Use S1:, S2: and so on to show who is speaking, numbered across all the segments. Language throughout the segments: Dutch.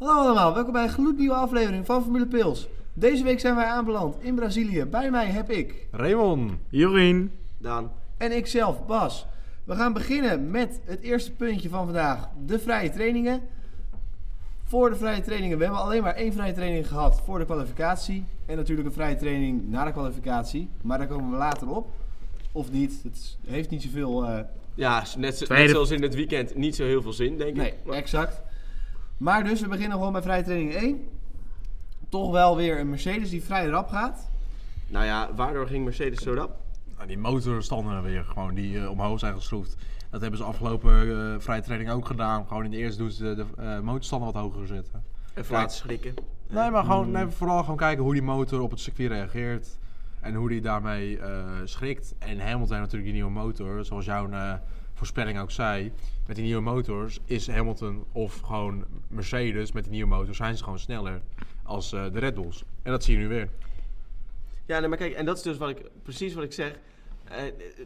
S1: Hallo allemaal, welkom bij een gloednieuwe aflevering van Formule Pils. Deze week zijn wij aanbeland in Brazilië. Bij mij heb ik
S2: Raymond.
S3: Jorien.
S4: Daan.
S1: en ikzelf, Bas. We gaan beginnen met het eerste puntje van vandaag, de vrije trainingen. Voor de vrije trainingen, we hebben alleen maar één vrije training gehad voor de kwalificatie. En natuurlijk een vrije training na de kwalificatie, maar daar komen we later op. Of niet, het is- heeft niet zoveel... eh,
S4: Ja, is net, zo-
S3: Tweede-
S4: net zoals in het weekend niet zo heel veel zin, denk
S1: Nee,
S4: ik.
S1: exact. Maar dus, we beginnen gewoon bij vrije training 1. Toch wel weer een Mercedes die vrij rap gaat.
S4: Nou ja, waardoor ging Mercedes zo rap?
S2: Nou, die motorstanden weer gewoon die eh, omhoog zijn geschroefd. Dat hebben ze afgelopen eh vrije training ook gedaan. Gewoon in de eerste doen ze de, de, eh, motorstanden wat hoger zetten.
S4: Even laten schrikken.
S2: Nee, maar gewoon, nee, vooral gewoon kijken hoe die motor op het circuit reageert. En hoe die daarmee eh, schrikt. En Hamilton heeft natuurlijk die nieuwe motor. Zoals jouw eh, voorspelling ook zei. Met die nieuwe motors is Hamilton of gewoon Mercedes met die nieuwe motor zijn ze gewoon sneller als eh, de Red Bulls. En dat zie je nu weer.
S4: Ja, nee, maar kijk, en dat is dus wat ik, precies wat ik zeg. Eh,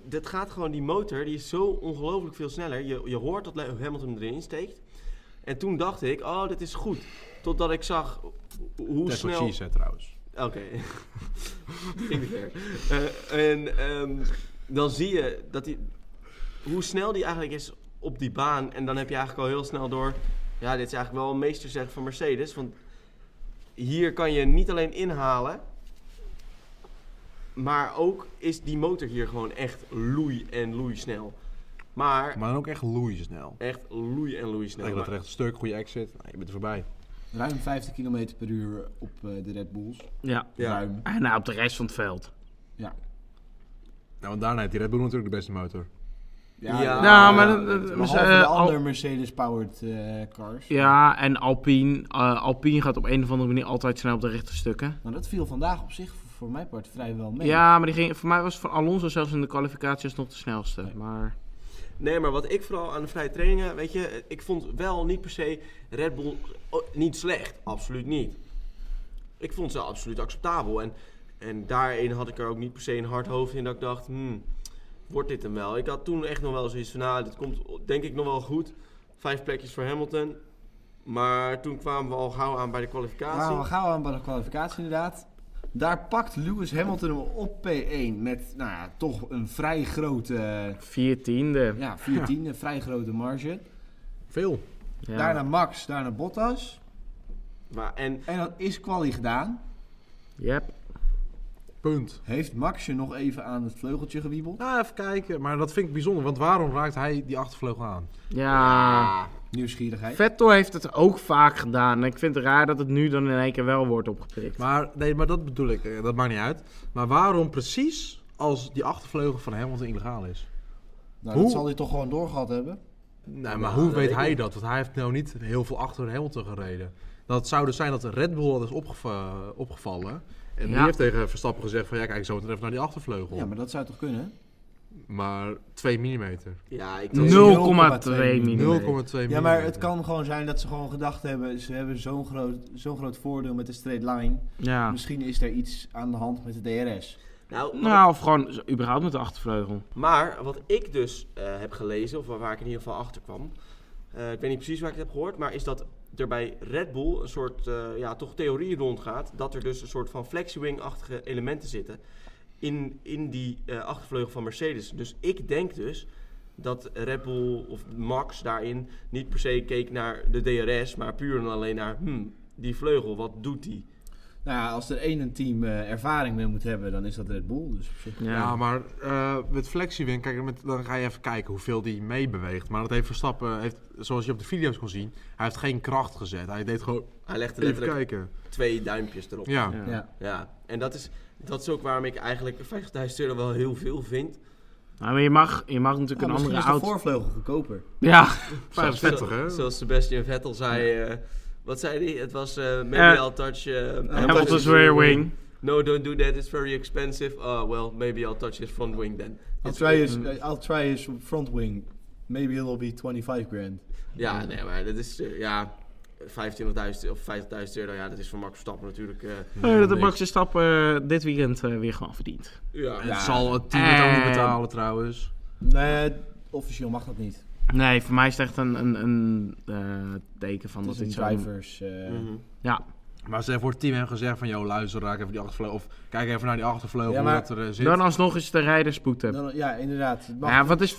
S4: dit gaat gewoon, die motor, die is zo ongelooflijk veel sneller. Je, je hoort dat Le- Hamilton erin steekt. En toen dacht ik, oh, dit is goed. Totdat ik zag hoe
S2: That's what
S4: snel...
S2: she said trouwens.
S4: Oké. Ging niet ver. Eh, en ehm, dan zie je dat die, hoe snel die eigenlijk is op die baan. En dan heb je eigenlijk al heel snel door. Ja, dit is eigenlijk wel een meesterzeg van Mercedes. Want hier kan je niet alleen inhalen. Maar ook is die motor hier gewoon echt loei en loei snel. Maar
S2: Maar dan ook echt loeisnel.
S4: echt loei en loei snel.
S2: Lekker dat
S4: Maar-
S2: recht stuk, goede exit. Nou, je bent er voorbij.
S1: Ruim 50 km per uur op eh, de Red Bulls.
S3: Ja.
S4: ja.
S1: Ruim.
S3: En nou, op de rest van het veld.
S1: Ja.
S2: Nou, want daarna heeft die Red Bull natuurlijk de beste motor.
S4: Ja.
S3: nou, maar...
S4: ja,
S3: dat- dat-
S1: Behalve
S3: eh,
S1: de
S3: Al-
S1: andere Mercedes-powered eh, cars.
S3: Ja, en Alpine. eh, Alpine gaat op een of andere manier altijd snel op de rechte stukken.
S1: Nou, dat viel vandaag op zich voor, voor mijn part vrijwel mee.
S3: Ja, maar die ging, voor mij was van Alonso zelfs in de kwalificaties nog de snelste. Maar
S4: Nee, maar wat ik vooral aan de vrije trainingen, weet je, ik vond wel niet per se Red Bull oh, niet slecht. Absoluut niet. Ik vond ze absoluut acceptabel. En, en daarin had ik er ook niet per se een hard hoofd in dat ik dacht, hmm, wordt dit hem wel? Ik had toen echt nog wel zoiets van, nou, dit komt denk ik nog wel goed. Vijf plekjes voor Hamilton. Maar toen kwamen we al gauw aan bij de kwalificatie.
S1: Nou, we gaan aan bij de kwalificatie inderdaad. Daar pakt Lewis Hamilton hem op P1 met, nou ja, toch een vrij grote, eh,
S3: viertiende.
S1: ja, 14, een vrij grote marge.
S2: Veel.
S3: Ja.
S1: Daarna Max, daarna Bottas.
S4: Maar, en
S1: En dat is quali gedaan.
S3: Yep.
S2: Punt.
S1: Heeft Max je nog even aan het vleugeltje gewiebeld?
S2: Nou, even kijken. Maar dat vind ik bijzonder. Want waarom raakt hij die achtervleugel aan?
S3: Ja.
S1: Nieuwsgierigheid.
S3: Vettel heeft het ook vaak gedaan. En ik vind het raar dat het nu dan in één keer wel wordt opgepikt.
S2: Maar, nee, maar dat bedoel ik. eh, Dat maakt niet uit. Maar waarom precies als die achtervleugel van Hamilton illegaal is?
S1: Nou,
S2: Hoe?
S1: dat zal hij toch gewoon doorgehad hebben?
S2: Nee, maar
S4: maar
S2: hoe
S4: dat weet
S2: weet
S4: ik
S2: hij
S4: niet.
S2: dat? Want hij heeft nou niet heel veel achter Hamilton gereden. Dat zou dus zijn dat de Red Bull dat is opgeva- opgevallen. En die
S3: Ja.
S2: heeft tegen Verstappen gezegd van... Ja, kijk zo meteen even naar die achtervleugel.
S1: Ja, maar dat zou toch kunnen?
S2: Maar 2 mm. 0,2
S4: ja, ik
S1: is
S3: 0,2 mm.
S2: mm.
S1: Ja, maar het kan gewoon zijn dat ze gewoon gedacht hebben... ze hebben zo'n groot, zo'n groot voordeel met de straight line.
S3: Ja.
S1: Misschien is er iets aan de hand met de DRS.
S4: Nou,
S3: Nou, of gewoon überhaupt met de achtervleugel.
S4: Maar wat ik dus eh, heb gelezen, of waar, waar ik in ieder geval achter kwam, eh, ik weet niet precies waar ik het heb gehoord, maar is dat er bij Red Bull een soort eh, ja, toch theorie rondgaat dat er dus een soort van flexiwing-achtige elementen zitten in, in die eh, achtervleugel van Mercedes. Dus ik denk dus dat Red Bull of Max daarin niet per se keek naar de DRS, maar puur en alleen naar hmm, die vleugel, wat doet die?
S1: Nou ja, als er één een team eh, ervaring mee moet hebben, dan is dat Red Bull. Dus op zich-
S3: Ja.
S2: Ja, maar eh, met flexiewing, kijk, met, dan ga je even kijken hoeveel die meebeweegt. Maar dat heeft Verstappen, eh, heeft, zoals je op de video's kon zien, hij heeft geen kracht gezet. Hij deed gewoon,
S4: Hij legde
S2: even
S4: letterlijk
S2: kijken.
S4: twee duimpjes erop.
S2: Ja.
S3: Ja.
S1: ja.
S4: Ja, en dat is, dat is ook waarom ik eigenlijk 50.000 euro wel heel veel vind.
S3: Nou, maar je mag, je mag natuurlijk
S1: Ja,
S3: een
S1: misschien
S3: andere
S1: is de
S3: auto.
S1: voorvleugel goedkoper.
S3: Ja,
S2: 45 hè?
S4: Zo- Zoals Sebastian Vettel zei. eh, wat zei hij? Het was eh maybe
S3: Eh,
S4: I'll touch... eh,
S3: Hamilton's rear dus wing.
S4: No, don't do that. It's very expensive. Oh, well, maybe I'll touch his front wing then.
S1: I'll
S4: It's-
S1: try his, I'll try his front wing. Maybe it'll be 25 grand.
S4: Ja, nee, maar dat is... eh, ja, 25.000 of 50.000 euro. Ja, dat is voor Max Verstappen natuurlijk... eh,
S3: Eh, dat de Max de Stappen eh, dit weekend eh, weer gewoon verdient.
S4: ja.
S2: Eh. Het zal het team het ook niet betalen trouwens.
S1: Nee, officieel mag dat niet.
S3: Nee, voor mij is het echt een, een, een eh, teken van
S5: Dat
S3: dat
S5: is een
S3: dit zo...
S5: drivers. eh,
S4: Mhm.
S3: Ja,
S2: Maar ze voor het team hebben gezegd van, joh, luister, raak even die achtervleugel. Of kijk even naar die achtervleugel,
S5: Ja,
S2: hoe
S5: maar-
S2: dat er eh, zit.
S3: dan alsnog is de rijder spoedtip.
S5: dan- ja, inderdaad. Het mag-
S3: Ja, wat is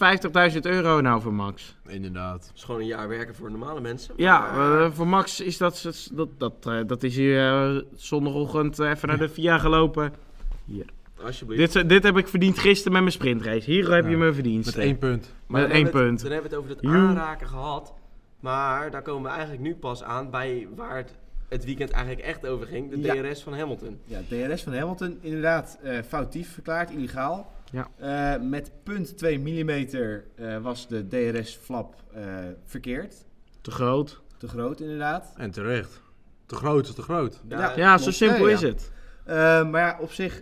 S3: 50.000 euro nou voor Max?
S2: Inderdaad.
S4: Dat is gewoon een jaar werken voor normale mensen.
S3: Ja,
S4: Maar-
S3: eh, voor Max is dat... Dat, dat, eh, dat is hier eh, zondagochtend eh, even naar de VIA gelopen.
S4: Alsjeblieft.
S3: Dit, dit heb ik verdiend gisteren met mijn sprintrace. Hier heb je
S2: Ja.
S3: me verdiend.
S2: Met één punt.
S4: dan
S3: met één
S4: hebben we het-
S3: punt.
S4: Dan hebben we het over het
S3: Joe.
S4: aanraken gehad. Maar daar komen we eigenlijk nu pas aan bij waar het, het weekend eigenlijk echt over ging. De
S1: Ja.
S4: DRS van Hamilton.
S1: Ja, DRS van Hamilton, inderdaad eh, foutief verklaard, illegaal.
S3: Ja.
S1: Eh, met 0,2 mm was de DRS-flap eh, verkeerd.
S3: Te groot.
S1: Te groot, inderdaad.
S2: En terecht. Te groot is te groot.
S1: Ja,
S3: Ja, zo
S1: klopt.
S3: simpel
S1: Ja,
S3: is
S1: ja.
S3: het.
S1: Eh, maar ja, op zich,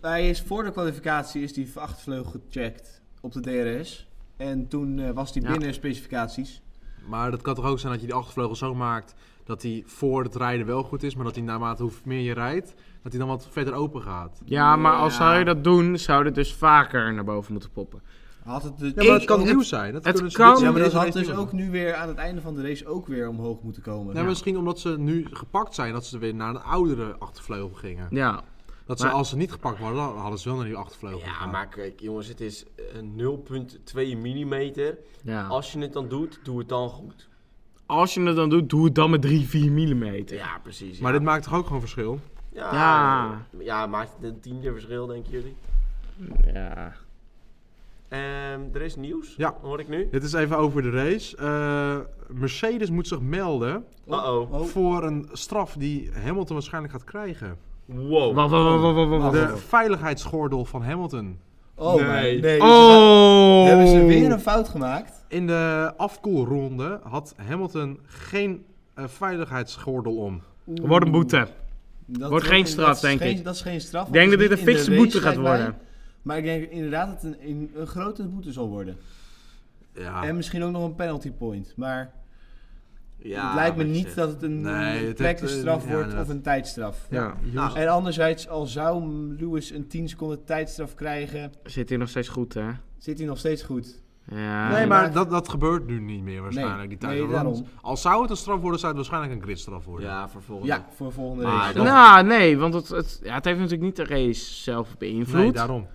S1: hij is voor de kwalificatie is die achtervleugel gecheckt op de DRS. En toen eh, was die
S3: Ja.
S1: binnen specificaties.
S2: Maar dat kan toch ook zijn dat je die achtervleugel zo maakt dat hij voor het rijden wel goed is, maar dat hij naarmate hoe meer je rijdt, dat hij dan wat verder open gaat.
S3: Ja, maar als
S1: Ja.
S3: zou je dat doen, zou het dus vaker naar boven moeten poppen.
S1: Had het dus,
S2: Ja, maar het
S3: Ik-
S2: kan
S3: het-
S2: nieuw zijn. Dat
S3: het
S2: kunnen ze
S3: kan-
S2: dit-
S1: Ja, maar dat
S2: deze
S1: had
S2: race
S1: dus
S2: niet
S1: ook
S2: doen.
S1: nu weer aan het einde van de race ook weer omhoog moeten komen.
S2: Ja, Misschien omdat ze nu gepakt zijn, dat ze weer naar een oudere achtervleugel gingen.
S3: Ja,
S2: Dat ze
S3: Maar-
S2: als ze niet gepakt worden, dan hadden ze wel naar die achtervleugel
S4: Ja,
S2: gegaan.
S4: maar kijk jongens, het is eh, 0,2 millimeter.
S3: ja.
S4: Als je het dan doet, doe het dan goed.
S3: Als je het dan doet, doe het dan met 3, 4 mm.
S4: Ja, precies.
S2: Maar
S4: ja.
S2: dit maakt toch ook gewoon verschil?
S4: ja,
S3: Ja.
S4: eh, ja, maakt het een tiende verschil, denken jullie?
S3: Ja.
S4: Ehm, er is nieuws,
S2: Ja.
S4: hoor ik nu.
S2: Dit is even over de race. Eh, Mercedes moet zich melden
S4: Uh-oh.
S1: Oh.
S2: voor een straf die Hamilton waarschijnlijk gaat krijgen.
S4: Wow.
S3: Wa- wa- wa- wa- wa- wa- wa-
S2: De veiligheidsgordel van Hamilton.
S1: Oh,
S4: Nee.
S1: nee. nee.
S3: Oh!
S1: Hebben ze weer een fout gemaakt?
S2: In de afkoelronde had Hamilton geen eh, veiligheidsgordel om.
S3: Wordt een boete.
S1: Dat
S3: Wordt geen
S1: dat
S3: straf,
S1: is
S3: denk
S1: geen-
S3: ik.
S1: Dat is geen straf.
S3: Ik denk
S1: want
S3: dat
S1: het
S3: dit
S1: is
S3: een
S1: niet in
S3: fikse
S1: de race,
S3: boete gaat
S1: lijkt mij.
S3: worden.
S1: Maar ik denk inderdaad dat het een, een, een grote boete zal worden.
S2: Ja,
S1: En misschien ook nog een penalty point. Maar
S4: Ja,
S1: het lijkt me
S4: wat je
S1: niet
S4: zegt.
S1: dat het een
S2: Nee, het-
S1: directe
S2: het-
S1: straf
S2: ja,
S1: wordt
S2: inderdaad.
S1: of een tijdstraf.
S3: Ja.
S4: Nou,
S1: En anderzijds, al zou Lewis een 10 seconden tijdstraf krijgen,
S3: Zit hier nog steeds goed, hè?
S1: zit hij nog steeds goed.
S3: Ja.
S2: nee, maar
S1: maar-
S2: dat, dat gebeurt nu niet meer waarschijnlijk.
S1: Nee,
S2: die tijd.
S1: nee,
S2: Want
S1: daarom.
S2: Als zou het een straf worden, zou het waarschijnlijk een gridstraf worden.
S4: Ja, vervolgens.
S1: Ja, voor volgende
S2: Ah,
S4: Maar
S1: race.
S4: dat-
S3: Nou, nee, want het, het, ja, het heeft natuurlijk niet de race zelf beïnvloed.
S2: nee, daarom.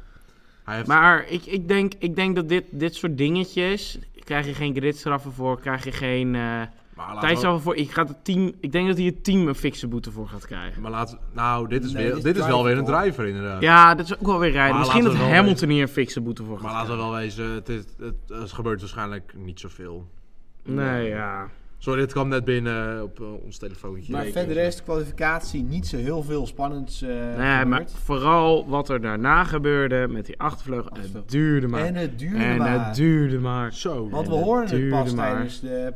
S2: Hij heeft,
S3: Maar ik, ik, denk, ik denk dat dit, dit soort dingetjes. Krijg je geen gridstraffen voor, krijg je geen eh
S2: maar laten we-
S3: tijdstraffen voor. Ik, ga het team, ik denk dat hij het team een fikse boete voor gaat krijgen.
S2: maar laten we- nou, dit is,
S1: Nee,
S2: weer,
S1: dit is
S2: dit is wel
S1: driver,
S2: weer een
S1: toch?
S2: driver inderdaad.
S3: Ja, dat is ook wel weer rijden.
S2: Maar
S3: Misschien dat
S2: laten we wel
S3: Hamilton hier een fikse boete voor gaat
S2: Maar laten we
S3: krijgen.
S2: wel wezen, het, is, het, het gebeurt waarschijnlijk niet zoveel.
S3: Nee, ja.
S2: Sorry, dit kwam net binnen op eh, ons telefoontje.
S1: Maar
S2: Nee,
S1: verder
S2: dus-
S1: is de kwalificatie niet zo heel veel spannends eh
S3: Nee, maar
S1: gebeurd.
S3: vooral wat er daarna gebeurde met die achtervleugel. Het
S1: Achtervleugel.
S3: duurde maar.
S1: En het duurde
S3: En
S1: maar.
S3: het duurde maar.
S2: Zo.
S1: Want we
S3: En het
S1: horen het
S3: duurde
S1: pas
S3: maar.
S1: tijdens de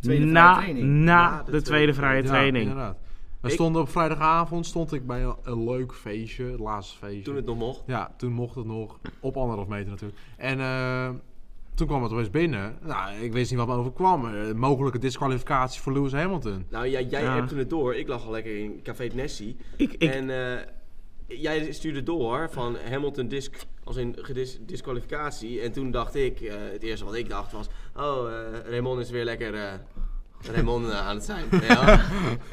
S1: tweede vrije
S3: na,
S1: training.
S3: na
S4: Ja,
S3: de tweede vrije
S2: Ja,
S3: training.
S2: inderdaad. We
S4: Ik-
S2: stonden op vrijdagavond stond ik bij een, een leuk feestje, het laatste feestje.
S4: Toen het nog mocht.
S2: Ja, toen mocht het nog. Op anderhalf meter natuurlijk. En eh, toen kwam het opeens binnen. Nou, ik wist niet wat me overkwam. Eh, mogelijke disqualificatie voor Lewis Hamilton.
S4: Nou ja, jij
S3: Ja.
S4: hebt toen het door. Ik lag al lekker in Café Nessie.
S3: Ik, ik,
S4: En eh, jij stuurde door van Hamilton disc, als in gedis- disqualificatie. En toen dacht ik, eh, het eerste wat ik dacht was, oh, eh Raymond is weer lekker eh Raymond eh, aan het zijn. Ja,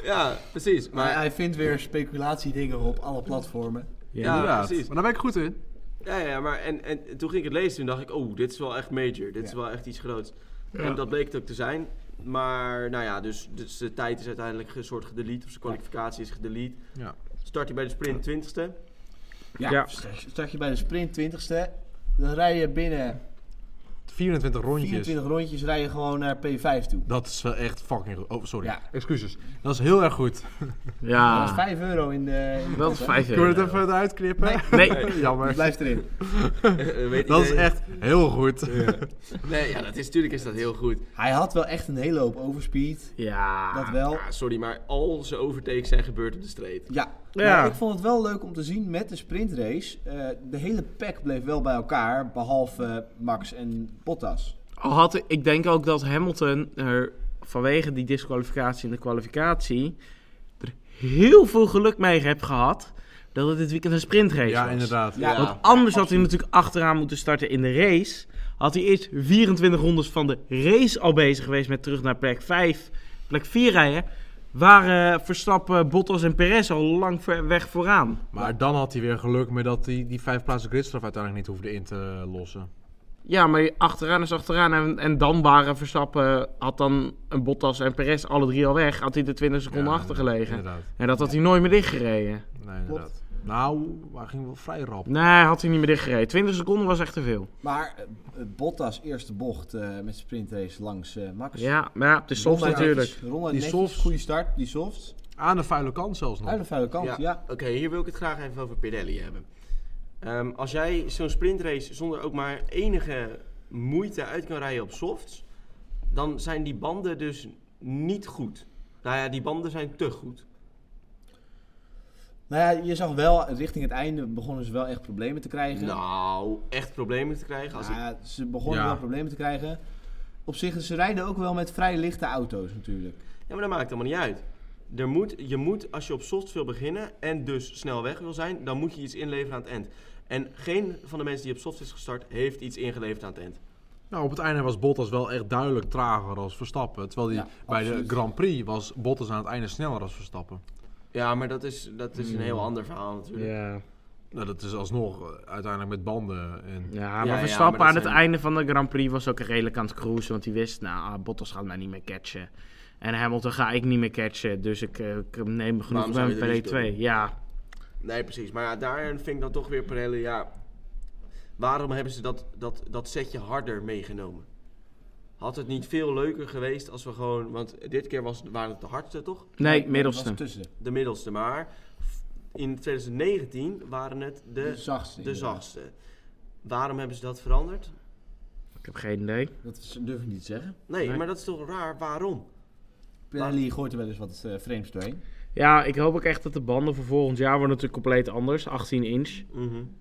S4: ja precies.
S1: Maar
S4: Maar
S1: hij vindt weer speculatiedingen op alle platformen.
S4: Ja,
S2: Inderdaad.
S4: precies.
S2: Maar daar ben ik goed in.
S4: Ja,
S3: eh,
S4: ja, maar en, en toen ging ik het lezen, toen dacht ik, oh, dit is wel echt major, dit is
S1: Ja.
S4: wel echt iets groots.
S3: Ja.
S4: En dat bleek het ook te zijn. Maar, nou ja, dus, dus de tijd is uiteindelijk een soort gedelete, of zijn kwalificatie is gedelete.
S2: Ja.
S4: Start je bij de sprint 20ste.
S1: Ja,
S3: Ja.
S1: Start, start je bij de sprint 20ste. Dan rij je binnen
S2: 24 rondjes.
S1: 24 rondjes rij je gewoon naar P5 toe.
S2: Dat is wel echt fucking goed. Oh, sorry.
S1: Ja.
S2: Excuses. Dat is heel erg goed.
S1: Dat is
S3: ja,
S1: 5 euro in de... in de
S3: dat
S1: pot,
S3: is
S1: hè?
S3: vijf
S2: Kunnen we
S3: euro.
S2: het even eruit knippen?
S3: Nee,
S1: Het
S2: Jammer.
S1: blijft erin.
S4: Eh, weet
S2: Dat is
S4: iedereen-
S2: echt heel goed.
S4: Nee, ja, dat is, natuurlijk is dat heel goed.
S1: Hij had wel echt een hele hoop overspeed.
S3: ja.
S1: Dat wel.
S4: Ja, sorry, maar al zijn overtakes zijn gebeurd op de streep.
S1: Ja,
S3: Ja.
S1: Maar ik vond het wel leuk om te zien met de sprintrace. eh, de hele pack bleef wel bij elkaar, behalve eh, Max en Bottas.
S3: Al had ik, ik denk ook dat Hamilton er vanwege die disqualificatie in de kwalificatie er heel veel geluk mee heeft gehad. dat het dit weekend een sprintrace was.
S2: Ja, inderdaad.
S4: Ja.
S3: Want anders had hij natuurlijk achteraan moeten starten in de race. Had hij eerst 24 rondes van de race al bezig geweest met terug naar plek 5, plek 4 rijden. Waren eh, Verstappen, Bottas en Perez al lang ver weg vooraan.
S2: Maar dan had hij weer geluk met dat hij die vijf plaatsen gridstraf uiteindelijk niet hoefde in te lossen.
S3: Ja, maar achteraan is achteraan. En, en dan waren Verstappen, eh, had dan een Bottas en Perez alle drie al weg. Had hij de 20 seconden
S2: Ja,
S3: achtergelegen.
S2: Inderdaad.
S3: En dat had hij nooit meer dichtgereden.
S2: Nee, inderdaad. Nou, hij ging wel vrij rap.
S3: Nee, had hij niet meer dichtgereden. 20 seconden was echt te veel.
S1: Maar eh, Bottas eerste bocht eh met sprintrace langs eh,
S2: Dus-
S1: Max.
S3: Ja, maar ja, het is soft
S1: Ronduit
S3: natuurlijk.
S1: netjes, Ronduit
S2: Die
S1: netjes,
S2: softs.
S1: goede start, die softs.
S2: Aan de vuile kant zelfs nog.
S1: Uit de vuile kant, ja.
S4: Oké, hier wil ik het graag even over Pirelli hebben. Ehm, als jij zo'n sprintrace zonder ook maar enige moeite uit kan rijden op softs, dan zijn die banden dus niet goed. Nou ja, die banden zijn te goed.
S1: Nou ja, je zag wel, richting het einde begonnen ze wel echt problemen te krijgen.
S4: Nou, echt problemen te krijgen. Als ik-
S1: Ja, ze begonnen
S2: Ja.
S1: wel problemen te krijgen. Op zich, ze rijden ook wel met vrij lichte auto's natuurlijk.
S4: Ja, maar dat maakt allemaal niet uit. Er moet, je moet, als je op softs wil beginnen en dus snel weg wil zijn, dan moet je iets inleveren aan het eind. En geen van de mensen die op softs is gestart, heeft iets ingeleverd aan het eind.
S2: Nou, op het einde was Bottas wel echt duidelijk trager als Verstappen. Terwijl hij
S1: Ja,
S2: bij
S1: absoluut.
S2: de Grand Prix was Bottas aan het einde sneller als Verstappen.
S4: Ja, maar dat is, dat is een heel ander verhaal natuurlijk.
S3: Ja.
S2: Nou, dat is alsnog eh, uiteindelijk met banden. En...
S3: Ja, maar
S4: ja,
S3: Verstappen
S4: maar
S3: aan
S4: dat
S3: het
S4: zijn-
S3: einde van de Grand Prix was ook redelijk aan het cruisen. Want hij wist, nou, ah, Bottas gaat mij niet meer catchen. En Hamilton ga ik niet meer catchen. Dus ik, eh, ik neem genoeg
S4: zou
S3: met
S4: je er risico
S3: P2.
S4: doen?
S3: Ja,
S4: Nee, precies. Maar ja, daarin vind ik dan toch weer Pirelli, ja... Waarom hebben ze dat, dat, dat setje harder meegenomen? Had het niet veel leuker geweest als we gewoon... Want dit keer was, waren het de hardste, toch?
S3: nee,
S1: Maar
S3: middelste.
S1: was tussen.
S4: De middelste, maar... In 2019 waren het
S1: De
S4: de,
S1: zachtste.
S4: de
S1: inderdaad.
S4: zachtste. Waarom hebben ze dat veranderd?
S3: Ik heb geen idee.
S1: Dat is- durf ik niet te zeggen.
S4: Nee,
S3: Nee.
S4: maar dat is toch raar? Waarom?
S1: Pirelli gooit er wel eens wat eh, frames doorheen.
S3: Ja, ik hoop ook echt dat de banden voor volgend jaar worden natuurlijk compleet anders. 18 inch.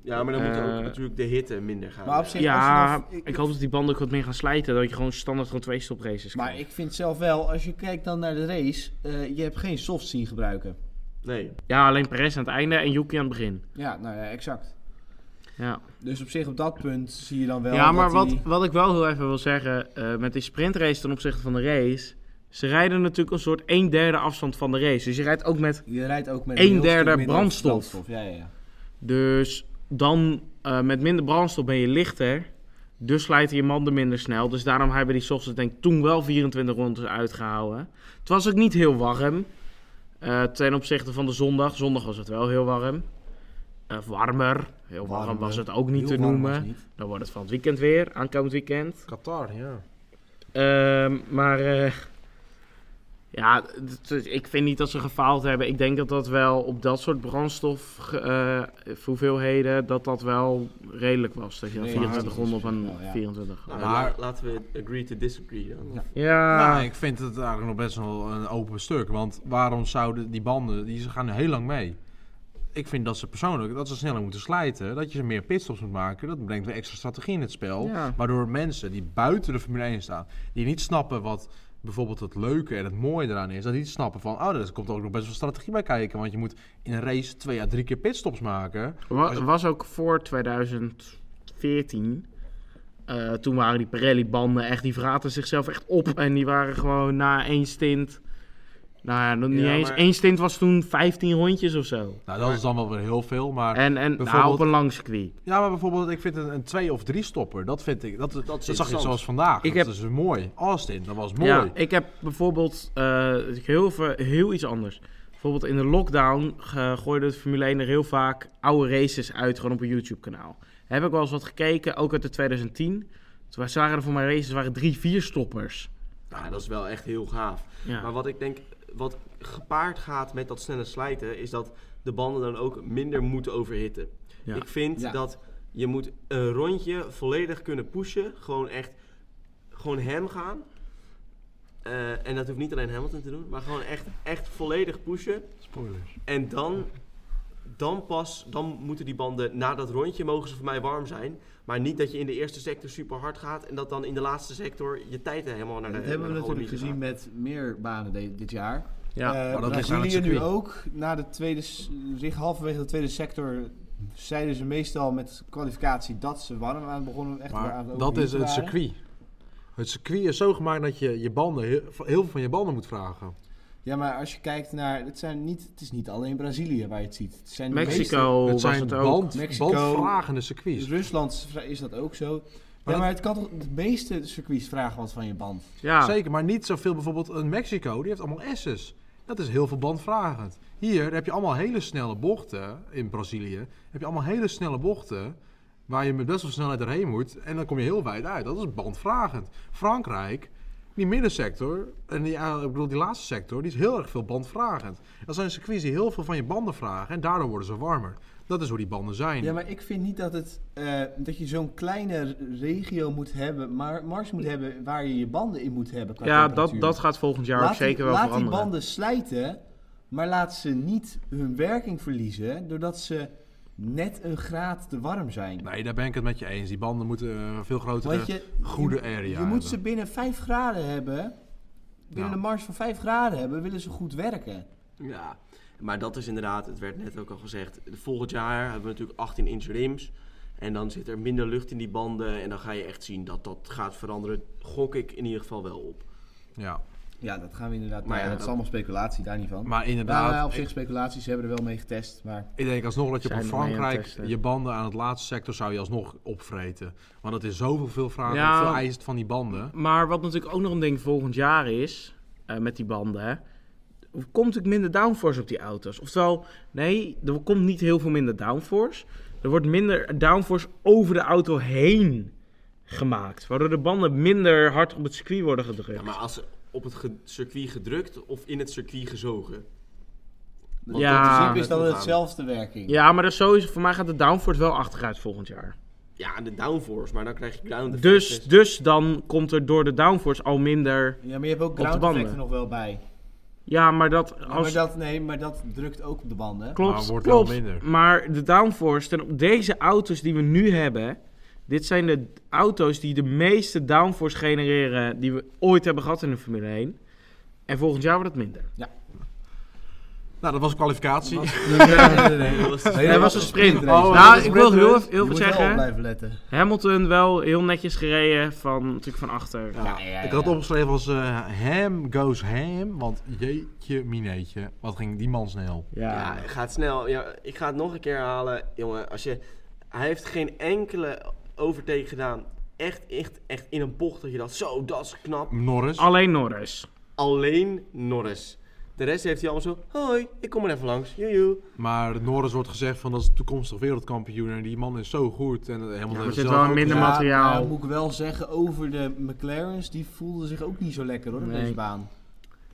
S4: Ja, maar dan moet
S3: Eh,
S4: ook natuurlijk de hitte minder gaan.
S1: Maar op zich, als je
S3: Ja,
S1: dan-
S3: ik hoop dat die banden ook wat meer gaan slijten. Dat je gewoon standaard gewoon twee stop races
S1: Maar
S3: krijgt.
S1: ik vind zelf wel, als je kijkt dan naar de race, eh, je hebt geen softs zien gebruiken.
S4: Nee.
S3: Ja, alleen Perez aan het einde en Yuki aan het begin.
S1: Ja, nou ja, exact.
S3: Ja.
S1: Dus op zich op dat punt zie je dan wel
S3: ja, maar
S1: dat
S3: wat,
S1: die-
S3: wat ik wel heel even wil zeggen, eh, met die sprintrace ten opzichte van de race. Ze rijden natuurlijk een soort 1 derde afstand van de race. Dus je rijdt ook met.
S1: Je rijdt ook met
S3: Een
S1: heel stuk
S3: derde
S1: minder
S3: brandstof.
S1: Ja, ja, ja.
S3: Dus dan eh, met minder brandstof ben je lichter. Dus slijten je banden minder snel. Dus daarom hebben die softs het denk ik toen wel 24 rondes uitgehouden. Het was ook niet heel warm. eh, ten opzichte van de zondag. Zondag was het wel heel warm. Of warmer. Heel warm,
S1: Warmer.
S3: was het ook niet
S1: Heel
S3: te
S1: warm was
S3: noemen.
S1: het niet.
S3: Dan wordt het van het weekend weer, aankomend weekend.
S2: Qatar, ja.
S3: Ehm, maar eh, ja, het- het- ik vind niet dat ze gefaald hebben. Ik denk dat dat wel op dat soort brandstofhoeveelheden, dat dat wel redelijk was. Dat je dan
S1: Nee,
S3: 24 ronden op een
S1: wel, ja.
S3: 24.
S4: Nou,
S2: Maar-
S4: la- laten we agree to disagree dan.
S1: Ja.
S3: Ja,
S2: Nou, ik vind het eigenlijk nog best wel een open stuk. Want waarom zouden die banden, die ze gaan heel lang mee. Ik vind dat ze persoonlijk, dat ze sneller moeten slijten. Dat je ze meer pitstops moet maken. Dat brengt weer extra strategie in het spel.
S3: Ja.
S2: Waardoor mensen die buiten de Formule 1 staan, die niet snappen wat bijvoorbeeld het leuke en het mooie eraan is. Dat die niet snappen van, oh, er komt ook nog best wel strategie bij kijken. Want je moet in een race twee à drie keer pitstops maken.
S3: wa- was ook voor 2014. eh, toen waren die Pirelli-banden echt, die vraten zichzelf echt op. En die waren gewoon na één stint. Nou ja, nog niet
S4: Ja,
S3: eens.
S4: maar-
S3: Eén stint was toen 15 rondjes of zo.
S2: Nou, dat is dan wel weer heel veel. Maar
S3: En, en nou,
S2: bijvoorbeeld-
S3: op een lang circuit.
S2: Ja, maar bijvoorbeeld, ik vind een, een twee of drie stopper, dat vind ik, dat, dat, zag je
S4: interessant.
S2: zoals vandaag.
S3: Ik
S2: dat
S3: heb-
S2: is weer mooi. Austin, dat was mooi.
S3: Ja, ik heb bijvoorbeeld eh, ik heel, veel- heel iets anders. Bijvoorbeeld in de lockdown eh, gooide de Formule 1 er heel vaak oude races uit, gewoon op een YouTube-kanaal. Heb ik wel eens wat gekeken, ook uit de 2010. Toen waren er voor mijn races waren drie, vier stoppers.
S4: Nou, dat is wel echt heel gaaf. Maar
S3: Ja.
S4: wat ik denk, wat gepaard gaat met dat snelle slijten, is dat de banden dan ook minder moeten overhitten.
S3: Ja.
S4: Ik vind
S1: Ja.
S4: dat je moet een rondje volledig kunnen pushen. Gewoon echt, gewoon hem gaan. Eh, en dat hoeft niet alleen Hamilton te doen, maar gewoon echt, echt volledig pushen.
S2: Spoilers.
S4: En dan, dan pas, dan moeten die banden na dat rondje, mogen ze voor mij warm zijn. Maar niet dat je in de eerste sector super hard gaat en dat dan in de laatste sector je tijd helemaal naar de
S1: Dat hebben we
S4: naar de
S1: natuurlijk
S4: galamiezen
S1: gezien
S4: gaat.
S1: met meer banen de- dit jaar.
S3: Ja.
S1: Eh,
S2: maar dat
S1: nou,
S2: ligt aan het
S1: jullie nu
S2: circuit.
S1: ook, na de tweede, s- zich halverwege de tweede sector, zeiden ze meestal met kwalificatie dat ze warm aan begonnen. Echt waar aan
S2: Maar
S1: het
S2: dat is
S1: overheaten
S2: het
S1: waren.
S2: circuit. Het circuit is zo gemaakt dat je je banden, heel heel veel van je banden moet vragen.
S3: Oh,
S1: Ja, maar als je kijkt naar, het, zijn niet, het is niet alleen Brazilië waar je het ziet. Het zijn de
S3: Mexico
S2: het
S3: was
S2: zijn
S3: het ook.
S2: band,
S1: Mexico.
S2: bandvragende
S1: meeste-
S2: circuits.
S1: Rusland is dat ook zo.
S2: dat-
S1: ja, maar het kan toch, de meeste circuits vragen wat van je band.
S3: Ja.
S2: Zeker, maar niet zoveel bijvoorbeeld een Mexico, die heeft allemaal S's. Dat is heel veel bandvragend. Hier heb je allemaal hele snelle bochten in Brazilië. Heb je allemaal hele snelle bochten waar je met best wel snelheid erheen moet. En dan kom je heel wijd uit. Dat is bandvragend. Frankrijk, die middensector, en die, eh, ik bedoel die laatste sector, die is heel erg veel bandvragend. Dat zijn circuits die heel veel van je banden vragen en daardoor worden ze warmer. Dat is hoe die banden zijn.
S1: Ja, maar ik vind niet dat, het, eh, dat je zo'n kleine regio moet hebben, maar mars moet hebben waar je je banden in moet hebben. qua
S3: Ja, dat,
S1: temperatuur.
S3: dat gaat volgend jaar ook
S1: laat die-
S3: zeker wel
S1: laat
S3: veranderen.
S1: die banden slijten, maar laat ze niet hun werking verliezen doordat ze net een graad te warm zijn.
S2: Nee, daar ben ik het met je eens. Die banden moeten eh, veel grotere,
S1: Want je,
S2: goede
S1: je,
S2: area
S1: je
S2: hebben.
S1: moet ze binnen 5 graden hebben. Binnen
S2: Ja.
S1: een marge van 5 graden hebben, willen ze goed werken.
S4: Ja, maar dat is inderdaad, het werd net ook al gezegd. Volgend jaar hebben we natuurlijk 18 inch rims. En dan zit er minder lucht in die banden. En dan ga je echt zien dat dat gaat veranderen. Gok ik in ieder geval wel op.
S2: Ja.
S1: Ja, dat gaan we inderdaad.
S4: Maar ja,
S1: dat
S4: dat-
S1: is allemaal speculatie, daar niet van.
S2: Maar
S1: Nou,
S2: inderdaad,
S1: ja, op
S2: ik-
S1: zich speculaties, ze hebben er wel mee getest, maar...
S2: Ik denk alsnog dat je op
S3: Zijn
S2: een
S3: we mee aan het
S2: Frankrijk
S3: testen.
S2: je banden aan het laatste sector zou je alsnog opvreten. Want het is zoveel veel vragen,
S3: Ja.
S2: veel eist van die banden.
S3: Maar wat natuurlijk ook nog een ding volgend jaar is, eh, met die banden, hè, er komt natuurlijk minder downforce op die auto's. Oftewel, nee, er komt niet heel veel minder downforce. Er wordt minder downforce over de auto heen gemaakt. Waardoor de banden minder hard op het circuit worden gedrukt.
S4: Ja, maar als ze op het ge- circuit gedrukt of in het circuit gezogen. Want
S3: Ja.
S4: dat
S1: in
S4: is-
S1: principe is
S4: dat
S1: dat
S4: gaan we.
S1: hetzelfde werking.
S3: er is sowieso, voor mij gaat de downforce wel achteruit volgend jaar.
S4: ja, de downforce, maar dan krijg je ground
S3: Dus,
S4: effects.
S3: dus dan komt er door de downforce al minder.
S1: Ja, maar je hebt ook
S3: de
S1: ground
S3: banden.
S1: effect er nog wel bij.
S3: Ja, maar dat.
S1: Ja,
S3: Als,
S1: maar dat, nee, maar dat drukt ook op de banden.
S3: Klopt,
S2: Maar wordt
S3: klopt.
S2: wel minder.
S3: Maar de downforce, ten op deze auto's die we nu hebben... Dit zijn de auto's die de meeste downforce genereren die we ooit hebben gehad in de Formule 1. En volgend jaar wordt het minder.
S2: Nou, dat was een kwalificatie.
S1: nee, nee, nee.
S3: Nee, dat was een sprint.
S1: sprintrace.
S2: Oh,
S3: nou,
S2: dat
S3: ik
S2: was
S3: wil
S2: een
S3: heel,
S2: sprint.
S3: even- heel
S1: Je
S3: veel
S1: moet wel op
S3: zeggen.
S1: blijven letten.
S3: Hamilton wel heel netjes gereden van, natuurlijk van achter.
S2: Ja.
S1: Ja, ja,
S2: Ik had
S1: ja.
S2: opgeschreven als eh, ham goes ham. Want jeetje mineetje, wat ging die man snel.
S4: Ja, het gaat snel. Ja, ik ga het nog een keer halen. Jongen, als je... Hij heeft geen enkele overtake gedaan. Echt, echt, echt in een bocht dat je dacht, zo, dat is knap.
S2: Norris.
S3: Alleen Norris.
S4: Alleen Norris. De rest heeft hij allemaal zo, hoi, ik kom er even langs. Joejoe.
S2: Maar Norris wordt gezegd van dat is toekomstig wereldkampioen. En die man is zo goed. En helemaal
S3: maar zit wel een minder man- materiaal.
S1: maar moet ik wel zeggen, over de McLaren's, die voelden zich ook niet zo lekker hoor, op
S3: Nee.
S1: deze baan.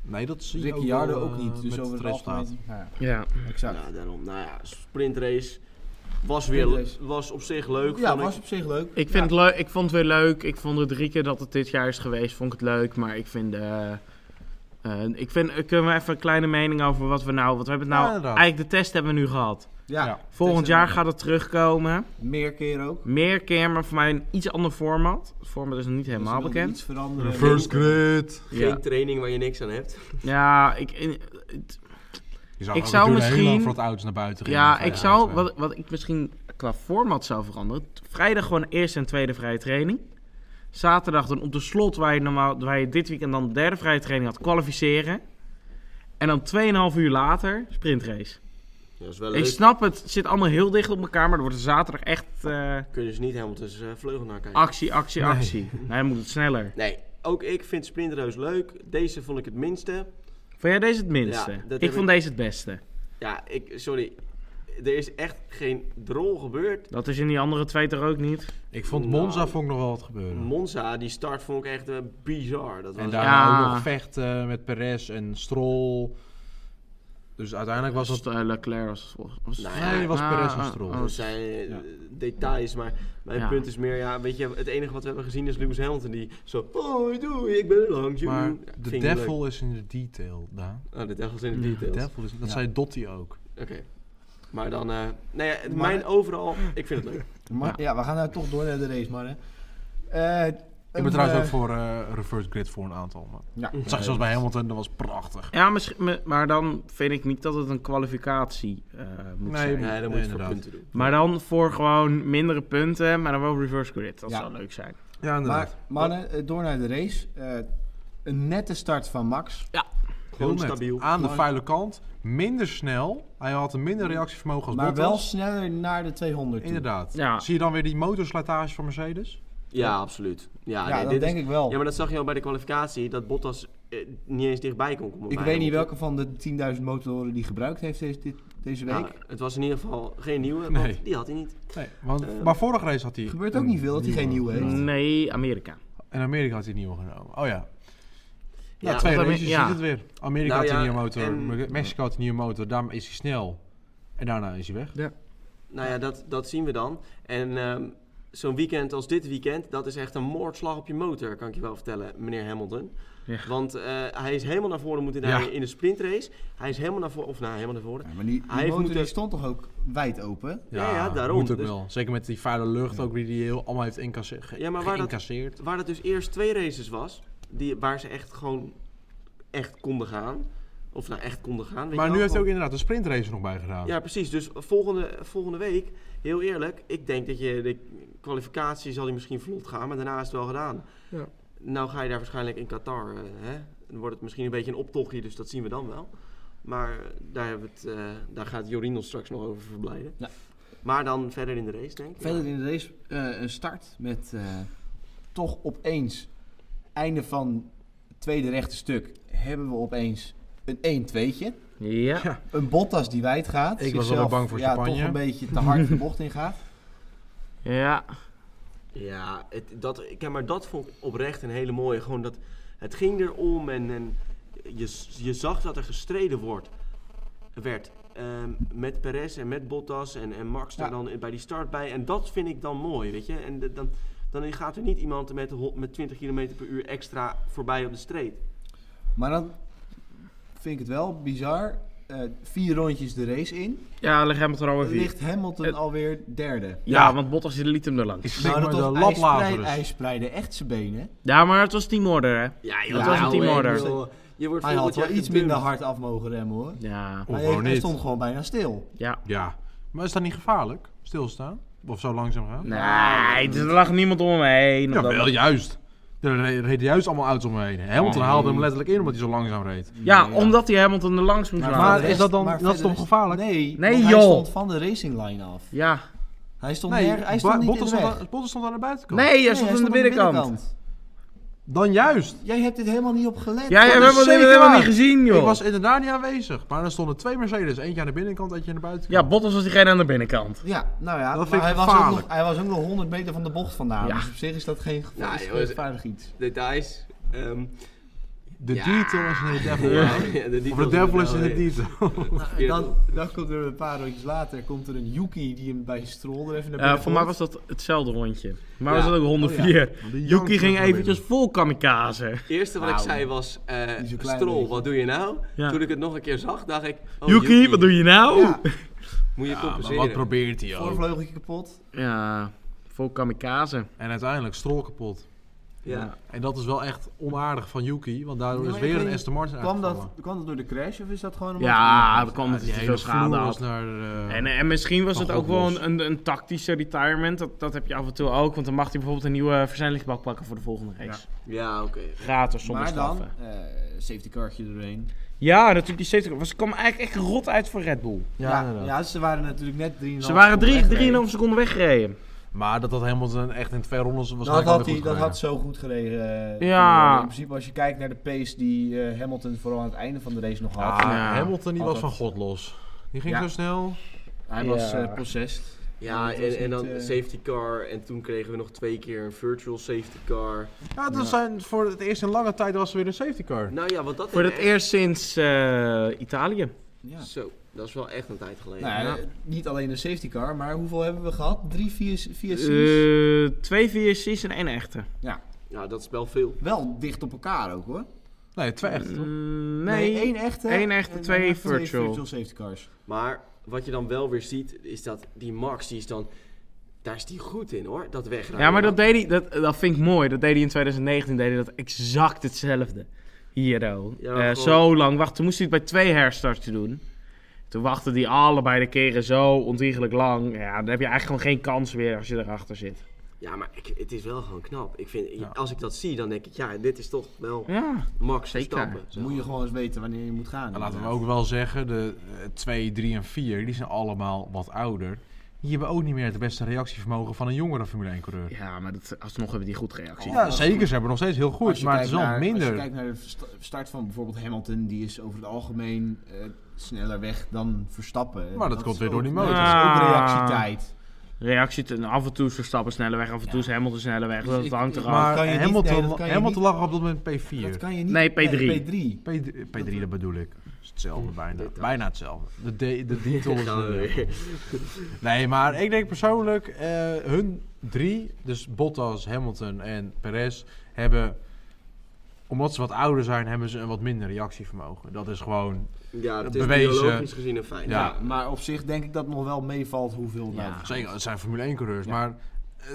S2: Nee, dat zie je ook,
S1: Ricciardo
S2: wel,
S1: ook
S2: eh,
S1: niet, dus
S2: met
S1: over het
S2: resultaat.
S1: algemeen. Ja,
S3: Ja.
S1: exact.
S4: Ja, daarom. Nou ja, sprintrace was, weer,
S1: Sprintrace.
S4: was op zich leuk.
S1: ja,
S4: vond ik.
S1: was op zich leuk.
S3: Ik, vind het leuk, ik vond het weer leuk. Ik vond het drie keer dat het dit jaar is geweest, vond ik het leuk. Maar ik vind... eh, eh, ik vind, eh, kunnen we even een kleine mening over wat we nou... Wat we hebben het
S2: Ja,
S3: nou...
S2: inderdaad.
S3: eigenlijk de test hebben we nu gehad.
S1: Ja,
S2: Ja.
S3: Volgend jaar gaat het terugkomen.
S1: Meer keer ook.
S3: Meer keer, maar voor mij een iets ander format. Het format is nog niet helemaal
S1: Dus er wilde
S3: bekend.
S1: Iets veranderen.
S2: Reverse grid.
S4: Geen training waar je niks aan hebt.
S3: Ja, ik, in- het-
S2: Je zou
S3: Ik
S2: ook
S3: zou
S2: natuurlijk heel
S3: misschien-
S2: lang voor het oudst naar buiten gaan.
S3: ja, ik zou, wat, wat ik misschien qua format zou veranderen. t- Vrijdag gewoon eerste en tweede vrije training. Zaterdag dan op de slot waar je, normaal, waar je dit weekend dan de derde vrije training had kwalificeren. En dan 2,5 uur later sprintrace.
S4: Ja, is wel
S3: Ik
S4: leuk.
S3: snap het, het zit allemaal heel dicht op elkaar, maar er wordt er zaterdag echt eh,
S4: Kun je dus niet helemaal tussen eh, vleugel naar kijken.
S3: actie, actie,
S2: Nee.
S3: actie. Nee, dan moet het sneller.
S4: Nee, ook ik vind sprintrace leuk. Deze vond ik het minste.
S3: Vond jij deze het minste?
S4: Ja, dat
S3: ik
S4: heb
S3: vond
S4: ik-
S3: deze het beste.
S4: Ja, ik, sorry. Er is echt geen drol gebeurd.
S3: Dat is in die andere twee toch ook niet?
S2: Ik vond Monza
S4: Nou.
S2: vond ik nog wel wat gebeuren.
S4: Monza, die start vond ik echt eh, bizar. Dat was
S2: En
S4: echt-
S2: daarna
S3: Ja.
S2: ook nog vechten met Perez en Stroll. Dus uiteindelijk was dat...
S3: St- eh, Leclerc was volgens was-
S4: Nou ja,
S2: Nee, was
S3: Ah,
S2: Perez en
S3: ah,
S2: Stroll.
S1: Oh,
S3: ah.
S4: Dat zijn eh,
S2: Ja.
S4: details, maar mijn
S3: Ja.
S4: punt is meer, ja, weet je, het enige wat we hebben gezien is Lewis Hamilton die zo, oh, doei, ik ben er langs, joe,
S2: Maar
S4: joe." Ja,
S2: de
S4: vind ik
S2: devil is in de detail, Daan.
S4: leuk. Oh, de devil is in de
S3: Ja,
S2: De
S4: details.
S2: devil is... Dat
S1: Ja.
S2: zei Dotti ook.
S4: Oké. Maar dan, eh nou ja, het-
S1: Maar-
S4: mijn overal, ik vind het leuk.
S1: Maar, ja. we gaan nou toch door naar de race, man. hè. Eh,
S2: Ik ben
S1: een,
S2: trouwens ook
S1: eh,
S2: voor eh, reverse grid voor een aantal. Maar.
S1: Ja,
S2: Dat zag je zoals bij Hamilton, dat was prachtig.
S3: Ja, misschien, me- maar dan vind ik niet dat het een kwalificatie eh, moet
S2: Nee,
S3: zijn.
S2: maar-
S4: Nee, dan moet je het voor
S2: inderdaad.
S4: punten doen.
S3: Maar dan voor gewoon mindere punten, maar dan wel reverse grid. Dat
S1: Ja.
S3: zou leuk zijn.
S2: Ja,
S1: Maar
S2: inderdaad.
S1: mannen, eh, door naar de race. Eh, een nette start van Max.
S4: Gewoon
S2: Heel net.
S4: stabiel.
S2: Aan de
S1: Gewoon-
S2: vuile kant, minder snel. Hij had een minder reactievermogen als
S1: Maar
S2: Bottas.
S1: wel sneller naar de 200 toe.
S2: Inderdaad.
S3: Ja.
S2: Zie je dan weer die motorslijtage van Mercedes?
S4: Ja, absoluut. Ja,
S1: ja,
S4: nee,
S1: dat
S4: dit
S1: denk
S4: is-
S1: ik wel.
S4: Ja, maar dat zag je al bij de kwalificatie, dat Bottas eh, niet eens dichtbij kon komen.
S1: ik
S4: bij
S1: weet niet
S4: Hamilton.
S1: welke van de 10.000 motoren die gebruikt heeft deze, dit- deze week.
S4: Nou, het was in ieder geval geen nieuwe, want
S2: Nee.
S4: die had hij niet.
S2: Nee, want,
S4: Eh,
S2: maar vorige race had hij...
S1: gebeurt ook
S2: een
S1: niet veel dat hij geen nieuwe heeft.
S3: Nee, Amerika.
S2: In Amerika had hij een nieuwe genomen. Oh ja. Nou,
S4: Ja,
S2: twee
S3: want
S2: races,
S3: Amer-
S2: je
S3: ja.
S2: ziet het weer. Amerika
S4: Nou
S2: had een
S4: ja,
S2: nieuwe motor,
S4: en-
S2: Me- Mexico had een nieuwe motor, daarom is hij snel. En daarna is hij weg.
S4: Nou ja, dat, dat zien we dan. En ehm, zo'n weekend als dit weekend, dat is echt een moordslag op je motor, kan ik je wel vertellen, meneer Hamilton.
S3: Ja.
S4: Want eh, hij is helemaal naar voren moeten
S2: Ja.
S4: rijden in de sprintrace. Hij is helemaal naar voren, of nou, helemaal naar voren.
S1: Ja, maar die, die
S4: Hij heeft
S1: motor
S4: moeten-
S1: die stond toch ook wijd open?
S4: Ja, ja, daarom.
S2: Moet ook
S4: Dus-
S2: wel. Zeker met die vuile lucht ook die hij heel allemaal heeft incasse- ge-
S4: Ja, maar waar dat-
S2: geïncasseerd.
S4: Waar dat dus eerst twee races was, die, waar ze echt gewoon echt konden gaan. Of nou, echt konden gaan. weet
S2: Maar nu
S4: je wel,
S2: heeft hij
S4: gewoon-
S2: ook inderdaad een sprintrace er nog bij gedaan.
S4: Ja, precies. Dus volgende, volgende week, heel eerlijk, ik denk dat je de kwalificatie zal die misschien vlot gaan, maar daarna is het wel gedaan.
S3: Ja.
S4: Nou ga je daar waarschijnlijk in Qatar, eh, hè? dan wordt het misschien een beetje een optochtje, dus dat zien we dan wel. Maar eh, daar, hebben we het, eh, daar gaat Jorien ons straks nog over verblijden.
S1: Ja.
S4: Maar dan verder in de race, denk ik.
S1: Verder in de race eh, een start met eh, toch opeens einde van het tweede rechte stuk hebben we opeens een 1-2'tje.
S3: Ja.
S1: Een Bottas die wijd gaat.
S2: Ik was
S1: zichzelf,
S2: wel bang voor
S1: ja,
S2: Champagne.
S1: toch een beetje te hard de bocht ingaat.
S3: Ja.
S4: Ja, het, dat, kijk, maar dat vond ik oprecht een hele mooie. Gewoon dat het ging erom en, en je, s- je zag dat er gestreden wordt, werd. Ehm, met Perez en met Bottas en, en Max daar
S1: Ja.
S4: dan bij die start bij. En dat vind ik dan mooi, weet je. En de- dan, dan gaat er niet iemand met, hol- met 20 km per uur extra voorbij op de street.
S1: Maar dan vind ik het wel bizar. Eh, vier rondjes de race in.
S3: Ja, leg Hamilton er alweer vier.
S1: Ligt Hamilton
S3: Het-
S1: alweer derde.
S3: Ja,
S2: Ja.
S3: want Bottas liet hem er langs.
S2: Ik schrik maar de
S1: hij,
S2: lab
S1: spreid,
S2: Lazarus.
S1: hij spreidde echt zijn benen.
S3: Ja, maar het was Team Order, hè?
S4: Ja,
S1: dat was een
S4: ouwe,
S3: teamorder.
S4: joh. Je wordt
S1: Hij
S4: volgend
S1: had wel
S4: jaar
S1: iets
S4: gedumpt.
S1: minder hard af mogen remmen hoor.
S3: Ja.
S1: Hij,
S2: Of Oh, gewoon
S1: heeft- hij
S2: niet.
S1: stond gewoon bijna stil.
S3: Ja.
S2: Ja. Maar is dat niet gevaarlijk? Stilstaan? Of zo langzaam gaan?
S3: Nee, er lag niemand om hem heen.
S2: Ja,
S3: Omdat-
S2: wel juist. Er re- reden juist allemaal auto's om me heen. Hamilton haalde hem letterlijk in omdat hij zo langzaam reed.
S3: ja, omdat hij Hamilton er langs moest
S1: van
S3: laten.
S2: maar-
S1: de
S2: is dat dan-
S1: maar
S2: dat is
S1: verder
S2: toch gevaarlijk?
S1: Nee,
S3: Nee,
S1: want
S3: joh.
S1: hij stond van de racing line af.
S3: Ja.
S1: Hij stond, nerg- hij stond
S2: Ba-
S1: niet
S2: Bottas
S1: in de
S2: stond,
S1: weg.
S2: aan, Bottas stond aan de buitenkant.
S3: Nee,
S1: Nee,
S3: hij stond aan de
S1: aan
S3: binnenkant.
S1: binnenkant.
S2: Dan juist.
S1: Jij hebt dit helemaal niet op gelet.
S3: Ja, jij
S2: Dat
S3: hebt
S2: is
S3: Hamilton
S2: zeker
S3: helemaal
S2: waar.
S3: niet gezien, joh.
S2: Ik was inderdaad niet aanwezig. Maar er stonden twee Mercedes. Eentje aan de binnenkant, eentje aan de buitenkant.
S3: Ja, Bottas was diegene aan de binnenkant.
S1: Ja, nou ja,
S2: Dat
S1: maar
S2: vind ik
S1: hij, was ook
S2: gevaarlijk.
S1: nog, hij was ook nog 100 meter van de bocht vandaan.
S3: Ja.
S1: Dus op zich is dat geen gevaar-
S4: Nou,
S1: is geen
S4: joh, is-
S1: gevaarlijk iets.
S4: Details. ehm,
S2: De
S4: Ja.
S2: detail is in de devil.
S4: ja,
S2: hè?
S4: de
S2: Of
S4: details
S2: de devil
S4: wel
S2: is in de
S4: weer.
S2: detail.
S1: En dan, dan komt er een paar rondjes later komt er een Yuki die hem bij Stroll er even naar
S3: Eh,
S1: binnen
S3: voor mij
S1: gooit.
S3: was dat hetzelfde rondje. Maar
S4: Ja.
S3: was dat ook ronde
S1: Oh, ja.
S3: 4.
S2: Die jankt
S3: Yuki ging
S2: nog naar
S3: eventjes vol kamikaze.
S4: eerste wat ik
S1: Nou,
S4: zei was, eh
S1: is een klein
S4: Strol,
S1: beetje.
S4: wat doe je nou?
S3: Ja.
S4: Toen ik het nog een keer zag, dacht ik, oh,
S3: Yuki, wat doe je nou? Ja,
S1: Ja,
S4: Moet je
S2: Ja, maar
S4: compenseren.
S2: wat probeert hij ook?
S1: voorvleugeltje kapot.
S3: vol kamikaze.
S2: En uiteindelijk strol kapot.
S4: ja.
S2: En dat is wel echt onaardig van Yuki, want daardoor
S1: Ja,
S2: is
S1: maar ik
S2: weer een
S1: weet-
S2: Aston Martin
S1: Kwam dat,
S2: uitgevallen.
S1: kwam dat door de crash of is dat gewoon een
S3: Ja, dat kwam
S2: Ja,
S3: omdat
S2: die
S3: hij te
S2: hele
S3: veel schade
S2: vloer
S3: had.
S2: was naar... eh,
S3: En, en misschien was
S2: Van
S3: het ook
S2: God
S3: wel
S2: los.
S3: een, een, een tactische retirement. Dat, dat heb je af en toe ook. Want dan mag hij bijvoorbeeld een nieuwe versnellingsbak pakken voor de volgende race.
S4: Ja, oké.
S3: Gratis zonder
S1: Maar dan,
S3: straffen.
S1: eh, safety cartje doorheen.
S3: Ja, natuurlijk die safety car. Want Ze kwamen eigenlijk echt rot uit voor Red Bull.
S2: ja,
S1: ja,
S2: inderdaad.
S1: ja, ze waren natuurlijk net 3,5
S3: Ze waren drie- 3,5
S1: seconden
S3: seconden weggereden.
S2: Maar dat had Hamilton echt in twee rondes was
S1: Dat had, hij, dat had zo goed gereden. eh,
S3: Ja.
S1: In principe, als je kijkt naar de pace die eh, Hamilton vooral aan het einde van de race nog had.
S3: Ja.
S2: Hamilton die
S1: Had
S2: was van
S1: dat-
S2: god los. Die ging
S1: Ja.
S2: zo snel.
S1: Hij
S3: Ja.
S1: was eh possessed.
S4: Ja,
S1: Dat was
S4: en, en
S1: niet,
S4: dan
S1: eh,
S4: safety car. En toen kregen we nog twee keer een virtual safety car.
S2: Ja, dat zijn voor het eerst in lange tijd was er weer een safety car.
S4: Nou ja, wat dat
S3: Voor
S4: is
S3: het eerst sinds eh, Italië.
S1: Ja.
S4: Zo, dat is wel echt een tijd geleden.
S1: Nou, ja, eh, Niet alleen een safety car, maar hoeveel hebben we gehad? Drie, vier, vier C's?
S3: Eh, twee VSC's en één echte.
S4: Ja, dat is wel veel.
S1: Wel dicht op elkaar ook hoor.
S2: Nee, twee echt. toch?
S3: Mm, nee.
S1: één echte.
S3: één echte,
S1: en
S3: twee
S1: daarna
S3: virtual.
S1: safety cars.
S4: Maar wat je dan wel weer ziet, is dat die Max, die is dan... Daar is die goed in hoor, dat wegrijden.
S3: Ja, maar dat deed hij, dat, dat vind ik mooi. Dat deed hij in 2019, deed hij dat exact hetzelfde. Hier, oh.
S4: Ja,
S3: Eh,
S4: gewoon-
S3: zo lang wachten. Toen moest hij het bij twee herstarts doen. Toen wachten die allebei de keren zo ontiegelijk lang. Ja, dan heb je eigenlijk gewoon geen kans meer als je erachter zit.
S4: Ja, maar ik- het is wel gewoon knap. Ik vind,
S2: Ja.
S4: Als ik dat zie, dan denk ik, ja, dit is toch wel
S3: Ja.
S4: max
S3: Zeker.
S4: stappen.
S1: Moet je gewoon eens weten wanneer je moet gaan.
S2: En Nou, laten we ook wel zeggen, de 2, 3 en 4, die zijn allemaal wat ouder. Die hebben ook niet meer het beste reactievermogen van een jongere Formule 1 coureur.
S3: ja, maar dat, alsnog hebben die goed gereactie.
S2: Ja, zeker. Ze hebben nog steeds heel
S1: Als
S2: goed,
S1: je
S2: maar het
S1: kijkt
S2: is wel
S1: naar- Als je
S2: minder.
S1: kijkt naar de sta- start van bijvoorbeeld Hamilton, die is over het algemeen eh, sneller weg dan Verstappen.
S2: Maar dat komt
S1: is
S2: weer
S1: ook-
S2: door die motor.
S1: Dat is ook
S3: Ah.
S1: reactietijd.
S3: Reactie, ten- af en toe ze stappen sneller weg, af en toe ze helemaal te sneller weg.
S1: Dus
S3: dat
S1: ik-
S3: hangt
S1: ik-
S3: eraf.
S2: Maar
S1: kan je niet-
S2: Hamilton,
S1: nee, dat kan je
S2: Hamilton
S1: niet-
S2: lag op dat moment P4.
S1: Dat kan je niet.
S3: Nee, P3.
S1: P3.
S2: P3, P3 dat bedoel ik. Het is hetzelfde bijna.
S4: dit dan.
S2: Bijna hetzelfde. De, de, de titel is...
S4: Gaan we
S2: eh,
S4: weer.
S2: Nee, maar ik denk persoonlijk, eh, hun drie, dus Bottas, Hamilton en Perez, hebben, omdat ze wat ouder zijn, hebben ze een wat minder reactievermogen. Dat is gewoon,
S4: Ja, het is
S2: Bewezen.
S4: biologisch gezien een feit.
S2: Ja.
S1: Ja, maar op zich denk ik dat nog wel meevalt hoeveel
S3: Ja.
S1: nou.
S2: zeker, het zijn Formule 1 coureurs,
S1: Ja.
S2: maar eh,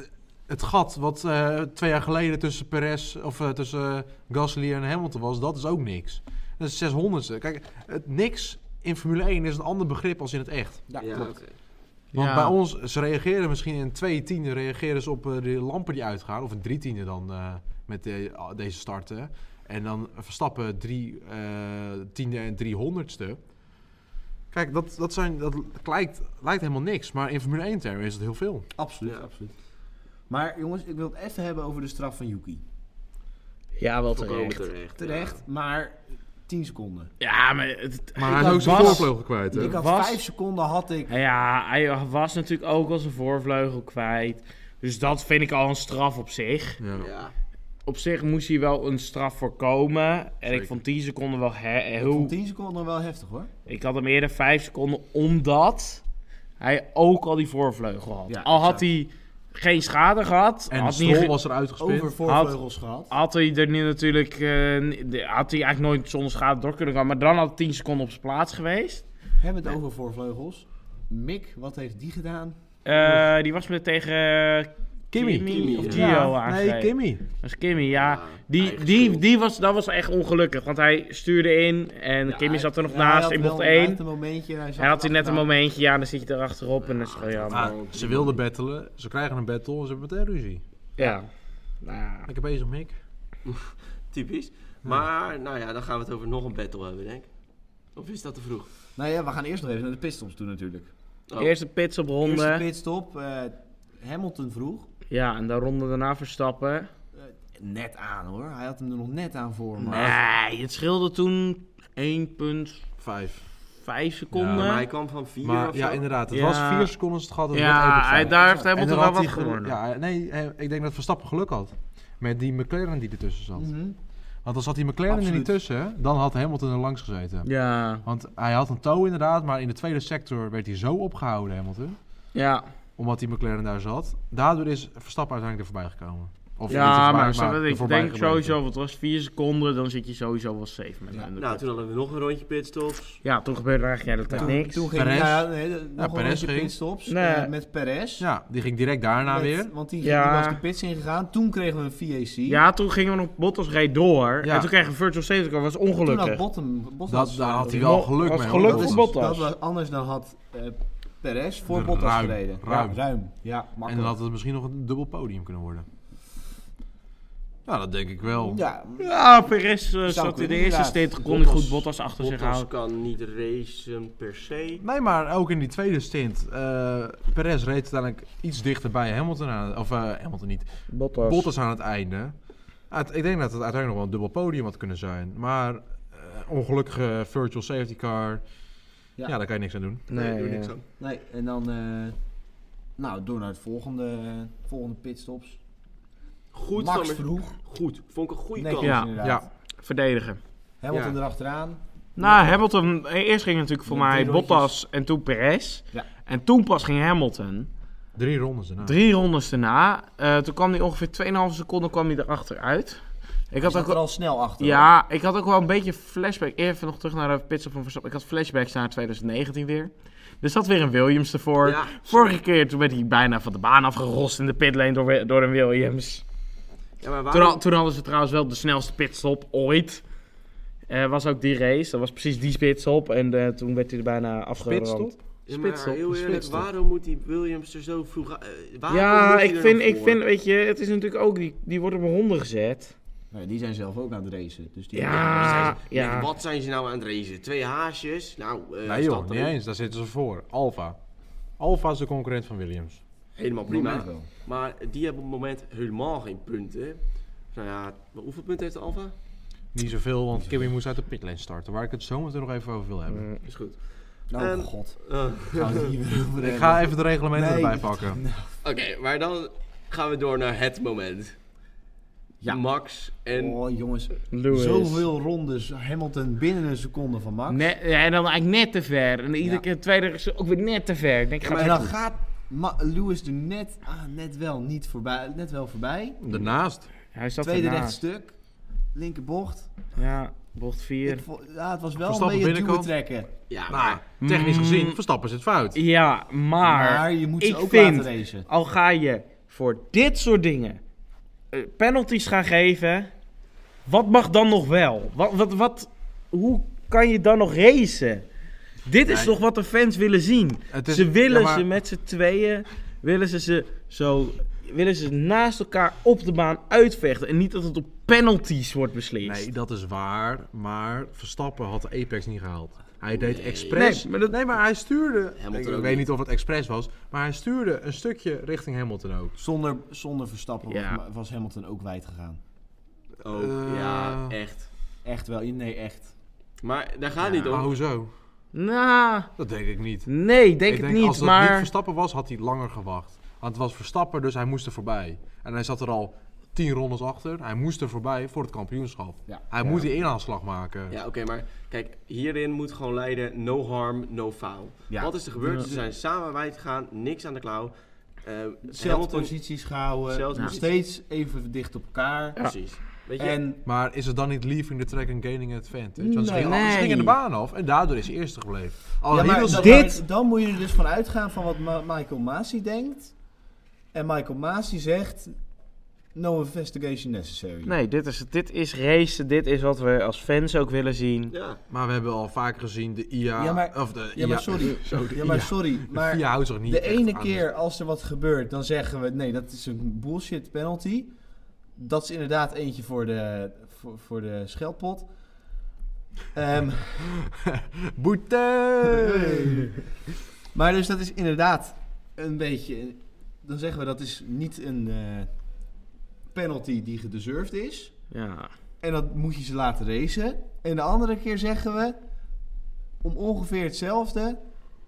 S2: het gat wat eh, twee jaar geleden tussen Perez, of eh, tussen eh, Gasly en Hamilton was, dat is ook niks. Dat is 600ste. Kijk, het niks in Formule 1 is een ander begrip als in het echt.
S1: Ja,
S4: Ja,
S1: klopt.
S4: oké.
S2: Want
S3: Ja.
S2: bij ons, ze reageren misschien in twee tienden reageren ze op eh, de lampen die uitgaan. Of in drie tienden dan eh, met de- ah, deze starten. En dan verstappen drie eh, tienden en driehonderdste. Kijk, dat, dat, zijn, dat lijkt, lijkt helemaal niks. Maar in Formule 1 termen is dat heel veel.
S1: Absoluut,
S4: Ja.
S1: absoluut. Maar jongens, ik wil het even hebben over de straf van Yuki.
S3: Ja, wel
S4: Volkomen
S3: terecht.
S4: terecht.
S1: Terecht, maar 10 seconden.
S3: Ja, maar het,
S2: Maar
S1: Ik
S2: hij is
S1: had
S2: ook zijn
S1: Bas-
S2: voorvleugel kwijt. Hè?
S1: Ik had
S3: was-
S1: 5 seconden had ik.
S3: Nou Ja, hij was natuurlijk ook al zijn voorvleugel kwijt. Dus dat vind ik al een straf op zich.
S2: Ja.
S4: Ja. Ja.
S3: Op zich moest hij wel een straf voorkomen. En
S2: Zeker.
S3: ik vond 10 seconden wel he-
S1: Ik vond
S3: heel...
S1: 10 seconden nog wel heftig hoor.
S3: Ik had hem eerder 5 seconden omdat hij ook al die voorvleugel had.
S1: Ja,
S3: al
S1: exact.
S3: had hij geen schade gehad,
S2: En de
S3: had, Ah, hij,
S2: Stroll
S3: ge-
S2: was er uitgespit.
S1: Over voorvleugels gehad.
S3: had hij er nu natuurlijk... eh, n- de- had hij eigenlijk nooit zonder schade door kunnen gaan. Maar dan had 10 seconden op zijn plaats geweest.
S1: Hebben we het over voorvleugels? Mick, wat heeft die gedaan?
S3: Eh, die was met tegen eh,
S2: Kimmy.
S4: Kimi,
S3: of
S4: ja.
S3: Gio aangereden.
S2: Nee, Kimmy.
S3: Dat is Kimmy, ja. Die,
S4: eigen
S3: die,
S4: schuld.
S3: die was, dat was echt ongelukkig, want hij stuurde in en
S4: Ja,
S3: Kimmy
S4: hij-
S3: zat er nog
S1: Ja, hij
S3: naast
S1: had
S3: in
S1: wel-
S3: bocht
S1: Hij
S3: 1.
S1: had een momentje. en Hij zat
S3: En had hij net een
S1: erachteraan.
S3: momentje, ja, en dan zit je erachterop en dat is gewoon
S4: Ah.
S3: jammer.
S2: Maar ze wilden battelen. Ze krijgen een battle. Ze hebben meteen ruzie.
S3: Ja. Nou ja.
S2: Lekker bezig, Mick.
S4: Typisch. Maar, nou ja, dan gaan we het over nog een battle hebben, denk ik. Of is dat te vroeg?
S1: Nou ja, we gaan eerst nog even naar de pitstops toe natuurlijk.
S4: Oh.
S3: Eerste pits op
S1: Eerste
S3: ronde.
S1: pitstop. eh, Hamilton vroeg.
S3: Ja, en dan ronde daarna verstappen.
S1: Net aan hoor. Hij had hem er nog net aan voor. Maar...
S3: Nee, het scheelde toen 1,5
S2: Vijf.
S3: seconden.
S2: Ja,
S4: Maar
S3: Ja,
S4: hij kwam van vier
S2: Maar
S4: of
S2: ja,
S4: zo.
S2: inderdaad. Het
S3: Ja.
S2: was vier seconden het gat. en het werd 1,5.
S3: hij, daar heeft
S1: En
S3: Hamilton
S2: dan
S3: wel
S2: had
S3: wat
S2: hij gelu-
S3: gewonnen.
S2: Ja, nee, hij- ik denk dat Verstappen geluk had. Met die McLaren die ertussen zat.
S3: Mm.
S1: Mhm.
S2: Want als zat die McLaren er
S1: Absoluut.
S2: niet tussen, dan had Hamilton er langs gezeten.
S3: Ja.
S2: Want hij had een toe inderdaad, maar in de tweede sector werd hij zo opgehouden, Hamilton.
S3: Ja,
S2: Omdat die McLaren daar zat. Daardoor is Verstappen uiteindelijk er voorbij gekomen. Of niet er
S3: ja
S2: voorbij,
S3: maar, snap je,
S2: er
S3: ik
S2: voorbij
S3: denk
S2: gebleven.
S3: sowieso, want het was 4 seconden, dan zit je sowieso wel safe met
S1: Ja.
S3: hem.
S4: Nou, toen hadden we nog een rondje pitstops.
S3: Ja, toen gebeurde er eigenlijk de hele tijd
S1: Toen,
S3: niks.
S1: toen ging
S2: Perez.
S1: nou ja, nee, de- nog
S2: Perez
S1: een rondje
S2: ging.
S1: pitstops
S3: Nee.
S1: eh, met Perez.
S2: Ja, die ging direct daarna
S1: Met-
S2: weer.
S1: Want die,
S3: Ja.
S1: die was de pits ingegaan. Toen kregen we een VAC.
S3: Ja, toen gingen we nog Bottas reed door.
S2: Ja.
S3: En toen kregen we Virtual Safety Car, was
S1: Toen had
S3: ongelukkig.
S1: Bottom,
S2: Dat, daar had hij
S3: Mo-
S2: wel geluk
S3: was
S2: mee.
S3: geluk
S2: hoor.
S1: voor
S2: Dat was-
S3: Bottas.
S1: Dat was anders dan had eh, Perez voor
S2: Ruim,
S1: Bottas gereden.
S2: ruim.
S1: Ja, ruim. Ja, makkelijk.
S2: En dan had het misschien nog een dubbel podium kunnen worden. Nou, dat denk ik wel.
S1: Ja,
S3: Ja, Perez eh, zat in
S1: kunnen,
S3: de eerste
S1: inderdaad.
S3: stint, kon hij
S4: Bottas-
S3: goed Bottas achter zich
S4: Bottas
S3: houden.
S4: kan niet racen per se.
S2: Nee, maar ook in die tweede stint. eh Perez reed uiteindelijk iets dichter bij Hamilton aan. Of eh, Hamilton niet.
S3: Bottas.
S2: Bottas aan het einde. Uit- ik denk dat het uiteindelijk nog wel een dubbel podium had kunnen zijn. Maar eh, ongelukkige virtual safety car. Ja.
S1: Ja.
S2: daar kan je niks aan doen.
S3: Nee,
S4: doe niks
S3: ja.
S4: aan.
S1: nee, en dan... eh, nou, door naar het volgende, volgende pitstops.
S4: Goed,
S1: Max
S4: Sander.
S1: vroeg.
S4: Goed. Vond ik een goede
S1: Netjes
S4: kans.
S3: Ja.
S1: inderdaad.
S2: Ja.
S3: verdedigen.
S1: Hamilton
S4: Ja.
S1: erachteraan.
S3: Nou, Hamilton, eh, eerst ging natuurlijk voor
S1: Ja,
S3: mij
S1: drie rondjes.
S3: Bottas en toen Perez.
S1: Ja.
S3: En toen pas ging Hamilton.
S2: Drie rondes daarna.
S3: Drie rondes daarna, eh, toen kwam hij ongeveer 2,5 seconden kwam hij erachter uit. Ik
S1: Ik
S3: had
S1: zat
S3: ook
S1: er al snel achter.
S3: Ja, ik had ook wel een beetje flashback. Even nog terug naar de pitstop van Verstappen. Ik had flashbacks naar 2019 weer. Er zat weer een Williams ervoor.
S4: Ja,
S3: Vorige keer toen werd hij bijna van de baan afgerost in de pitlane door, door een Williams.
S4: Ja, maar
S3: Toen,
S4: waarom-
S3: al- toen hadden ze trouwens wel de snelste pitstop ooit. Eh was ook die race. Dat was precies die pitstop. En eh, toen werd hij er bijna afgerond.
S2: Pitstop?
S4: Ja, maar
S3: Spitstop,
S4: heel eerlijk,
S3: spitstop.
S4: waarom moet die Williams er zo vroeg... eh, waarom moet
S3: Ja,
S4: hij
S3: ik
S4: er
S3: vind,
S4: nog
S3: ik
S4: voor?
S3: vind, weet je, het is natuurlijk ook, die, die wordt op mijn honden gezet.
S1: Nee, die zijn zelf ook aan het racen. Dus die
S4: Dan zijn
S3: Ja,
S4: ze-
S3: ja.
S4: Denk, Wat zijn ze nou aan het racen? Twee haasjes? Nou, eh
S2: Nee joh,
S4: stap
S2: niet
S4: erin.
S2: eens. Daar zitten ze voor. Alfa. Alfa is de concurrent van Williams.
S4: Helemaal
S1: Op het moment
S4: prima.
S1: wel.
S4: Maar die hebben op het moment helemaal geen punten. Nou ja, hoeveel punten heeft de Alfa?
S2: Niet zoveel, want Kimmy moest uit de pitlane starten, waar ik het zo meteen nog even over wil hebben.
S3: Mm.
S4: Is goed.
S1: Nou,
S4: Ehm,
S1: god.
S4: Eh,
S1: Gaan we het hier weer over
S2: Ik
S1: hebben?
S2: ga even de reglementen
S1: Nee.
S2: erbij pakken.
S4: Oké, maar dan gaan we door naar het moment.
S1: Ja.
S4: Max en...
S1: Oh jongens,
S3: Lewis.
S1: zoveel rondes. Hamilton binnen een seconde van Max.
S3: Net- ja, en dan eigenlijk net te ver. En iedere
S1: Ja.
S3: keer de tweede is ook weer net te ver. Ik denk, gaat
S1: en
S3: het
S1: dan gaat Ma- Lewis er net, ah, net wel niet voorbij. Net wel voorbij.
S2: Daarnaast,
S3: goed. Hij zat
S1: Tweede
S3: ernaast.
S1: rechtstuk. Linkerbocht.
S3: Ja, bocht 4.
S1: Ik vo- ja, het was wel een
S2: Verstappen
S1: beetje duwen
S2: binnenkant.
S1: trekken.
S4: Ja,
S2: nou,
S4: maar...
S2: technisch gezien,
S3: Mm.
S2: Verstappen is het fout.
S3: Ja, maar,
S1: Maar je moet ze
S3: ik
S1: ook
S3: vind,
S1: laten racen.
S3: al ga je voor dit soort dingen eh, penalties gaan geven, wat mag dan nog wel? Wat, wat, wat, hoe kan je dan nog racen? Dit is
S2: Nee.
S3: toch wat de fans willen zien.
S2: Het is-
S3: ze willen
S2: ja, maar-
S3: ze met z'n tweeën, willen ze ze zo, willen ze naast elkaar op de baan uitvechten. En niet dat het op penalties wordt beslist.
S2: Nee, dat is waar, maar Verstappen had de Apex niet gehaald. Hij deed expres.
S3: Nee,
S2: Nee,
S3: maar
S2: maar,
S3: dat-
S2: hij stuurde.
S4: Hamilton
S2: ik
S4: ook
S2: weet
S4: niet.
S2: niet of het expres was, maar hij stuurde een stukje richting Hamilton ook.
S1: Zonder, zonder Verstappen was
S3: Ja.
S1: Ma- was Hamilton ook wijd gegaan.
S4: Oh,
S2: Eh.
S4: ja, echt.
S1: Echt wel. Nee, echt.
S4: Maar daar gaat
S2: Ja,
S4: niet om.
S2: Maar hoezo?
S3: Nou,
S2: Dat denk ik niet.
S3: nee, denk
S2: ik
S3: het
S2: denk
S3: niet.
S2: als dat
S3: maar
S2: niet Verstappen was, had hij langer gewacht. Want het was Verstappen, dus hij moest er voorbij. En hij zat er al tien rondes achter. Hij moest er voorbij voor het kampioenschap.
S1: Ja.
S2: Hij moet die inhaalslag maken.
S4: Ja, oké, maar kijk, hierin moet gewoon leiden no harm, no foul.
S1: Ja.
S4: Wat is er gebeurd? Ze zijn samen wijd gegaan, niks aan de klauw. Eh
S1: Zelfde
S4: Hamilton-
S1: posities gehouden.
S4: Zelfde
S1: nog
S4: positie.
S1: steeds even dicht op elkaar.
S4: Precies. Weet je,
S1: En
S2: Maar is het dan niet leaving the track and gaining advantage? Want ze
S1: Nee.
S2: gingen, ze gingen de
S3: Nee.
S2: baan af en daardoor is hij eerste gebleven. Al
S1: Ja, maar
S2: Hiddleston-
S1: dan,
S3: dit-
S1: maar dan moet je er dus van uitgaan van wat Ma- Michael Masi denkt. En Michael Masi zegt... No investigation necessary.
S3: Nee, dit is, dit is racen. Dit is wat we als fans ook willen zien.
S4: ja.
S2: Maar we hebben al vaker gezien de IA.
S1: Ja, maar-
S2: of de
S1: Ja,
S2: IA,
S1: maar sorry.
S2: de
S1: Ja, maar
S2: IA.
S1: sorry.
S2: de
S1: Maar
S2: VIA houdt zich niet
S1: de
S2: echt
S1: ene
S2: aan
S1: keer als er wat gebeurt, dan zeggen we... Nee, dat is een bullshit penalty. Dat is inderdaad eentje voor de, voor, voor de scheldpot. Ehm,
S2: Boete!
S1: maar dus dat is inderdaad een beetje... Dan zeggen we dat is niet een eh, penalty die gedeserved is...
S3: Ja.
S1: En dat moet je ze laten racen. En de andere keer zeggen we, om ongeveer hetzelfde,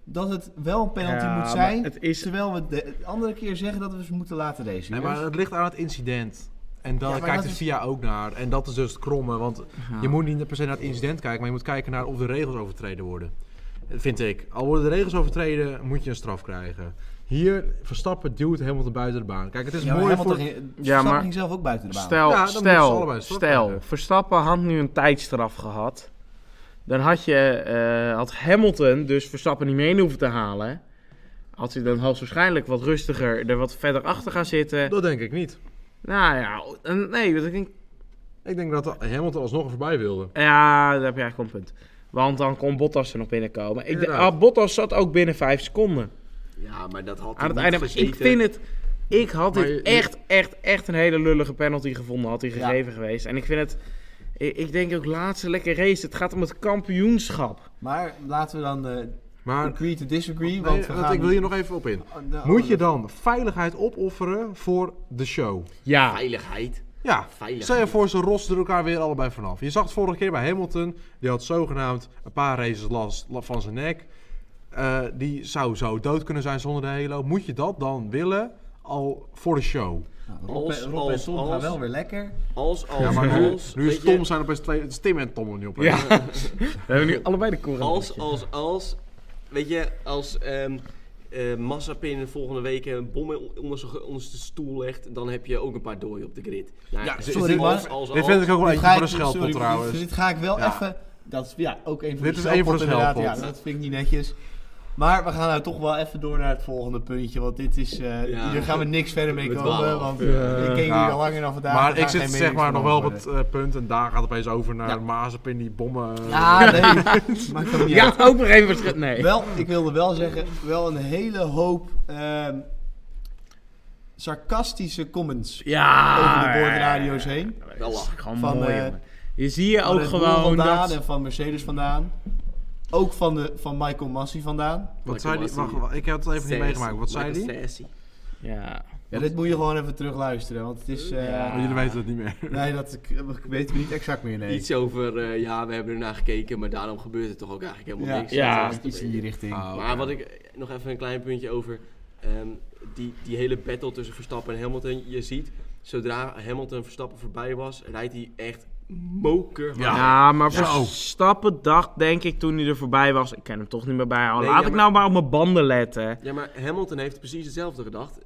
S1: dat het wel een penalty
S3: Ja,
S1: moet zijn.
S3: maar het is-
S1: Terwijl we de de andere keer zeggen dat we ze moeten laten racen. Dus
S2: Nee, maar
S1: jongens.
S2: het ligt aan het incident. En dan
S1: Ja, maar
S2: kijkt
S1: dat
S2: de
S1: is-
S2: VIA ook naar. En dat is dus het kromme. Want je moet niet per se naar het incident kijken, maar je moet kijken naar of de regels overtreden worden. Eh, Vind ik. Al worden de regels overtreden, moet je een straf krijgen. Hier, Verstappen duwt Hamilton buiten de baan. Kijk, het is
S1: Ja, maar
S2: mooi
S1: Hamilton
S2: voor...
S1: ging,
S3: Ja,
S1: Verstappen
S3: maar-
S1: ging zelf ook buiten de baan.
S3: Stel,
S2: Ja, dan moeten ze
S3: stel,
S2: allebei straf
S3: stel.
S2: krijgen.
S3: Verstappen had nu een tijdstraf gehad. Dan had, je, eh, had Hamilton dus Verstappen niet mee hoeven te halen. Had hij dan hoogstwaarschijnlijk wat rustiger er wat verder achter gaan zitten.
S2: Dat denk ik niet.
S3: Nou ja, en- nee, want ik denk,
S2: Ik denk dat Hamilton alsnog er voorbij wilde.
S3: ja, daar heb je eigenlijk wel een punt. Want dan kon Bottas er nog binnenkomen. Ik denk,
S2: Inderdaad.
S3: ah, Bottas zat ook binnen vijf seconden.
S4: ja, maar dat had hij
S3: Aan het
S4: niet
S3: einde, maar
S4: gezeten.
S3: ik vind het... Ik had
S2: Maar
S3: dit
S2: je- je-
S3: echt, echt, echt een hele lullige penalty gevonden, had hij
S1: Ja.
S3: gegeven geweest. En ik vind het... Ik, ik denk ook, laatste lekker race. Het gaat om het kampioenschap.
S1: Maar laten we dan de
S2: Maar
S1: agree to disagree.
S2: nee,
S1: want we
S2: want
S1: gaan... Oh,
S2: ik wil hier nog even op in.
S1: de-
S2: Moet je dan veiligheid opofferen voor de show?
S3: Ja,
S4: Veiligheid.
S2: Ja,
S4: Veiligheid.
S2: stel je voor ze rosten elkaar weer allebei vanaf. Je zag het vorige keer bij Hamilton. Die had zogenaamd een paar races last la- van zijn nek. Eh, die zou zo dood kunnen zijn zonder de halo. Moet je dat dan willen al voor de show?
S1: Nou, Rob,
S4: Als-
S1: en- Rob en
S4: als-
S1: Tom gaan
S4: als-
S1: wel weer lekker.
S4: Als, als,
S2: Ja, maar nu,
S4: als...
S2: nu is
S4: weet je,
S2: Tom zijn opeens twee... het is Tim en Tom er niet op. hè?
S3: Ja. we hebben nu allebei de koren.
S4: Als, als, als... Weet je, als... ehm, eh Massapin volgende week een bom in- onder zijn ge- onder zijn stoel legt, dan heb je ook een paar dooi op de grid. Nou,
S2: Ja,
S4: dus
S1: sorry,
S4: als-
S1: maar-
S4: als- als-
S2: Dit vind ik ook wel
S1: Dit
S2: eentje
S1: ga
S2: voor
S1: ik-
S2: een scheldpot
S1: sorry,
S2: trouwens.
S1: Dit ga ik wel
S2: Ja.
S1: even. Dat is ja, ook een van
S2: Dit
S1: de
S2: is één van de
S1: scheldpotten inderdaad.
S2: scheldpot.
S1: Ja, dat vind ik niet netjes. Maar we gaan nou toch wel even door naar het volgende puntje. Want dit is. eh,
S4: Ja.
S1: hier gaan we niks verder mee
S4: We
S1: komen.
S4: dwalen
S1: Want
S4: af.
S1: ik
S3: Ja.
S1: ken jullie
S2: Ja.
S1: al lang en al vandaag.
S2: Maar
S1: we
S2: ik
S1: gaan geen
S2: zit zeg
S1: mening
S2: maar nog wel op
S1: vormen.
S2: het eh, punt en daar gaat het opeens over naar Mazepin die bommen. eh,
S1: Ja, Ah, nee. Maakt ook niet
S3: Ja,
S1: uit.
S3: ook nog even verschil. Nee.
S1: Wel, ik wilde wel zeggen, wel een hele hoop ehm, sarcastische comments
S3: Ah, Ja.
S1: over de boordradio's heen.
S4: Wel
S3: Dat is
S4: lachen.
S3: gewoon
S1: Van,
S3: mooi,
S1: eh,
S3: jongen. Je ziet je
S1: Van
S3: ook
S1: Red Bull
S3: gewoon
S1: vandaan
S3: dat...
S1: en van Mercedes vandaan. Ook van, de, van Michael Massey vandaan.
S2: Wat zei die?
S4: Michael
S2: Wacht,
S4: Massey.
S2: wacht, ik heb het even niet
S4: Sassy.
S2: meegemaakt. Wat zei
S4: Michael
S2: die?
S4: Sassy.
S3: Ja.
S1: Ja, dit moet je gewoon even terugluisteren, want het is... eh,
S3: Ja.
S2: Oh, jullie weten het niet meer.
S1: Nee, dat ik, ik weet het niet exact meer, nee.
S4: Iets over, eh, ja, we hebben ernaar gekeken, maar daarom gebeurt er toch ook eigenlijk helemaal
S1: ja,
S4: niks.
S3: Ja.
S4: Dat is
S1: iets in die richting.
S2: Ah, oké.
S4: Maar wat ik eh, nog even een klein puntje over ehm, die, die hele battle tussen Verstappen en Hamilton. Je ziet, zodra Hamilton Verstappen voorbij was, rijdt hij echt moker.
S2: Ja.
S3: Ja, maar voor
S2: Zo.
S3: Stappen dacht denk ik toen hij er voorbij was. Ik ken hem toch niet meer bijhouden.
S4: Nee,
S3: Laat
S4: ja,
S3: ik
S4: maar-
S3: nou maar op mijn banden letten.
S4: Ja, maar Hamilton heeft precies hetzelfde gedacht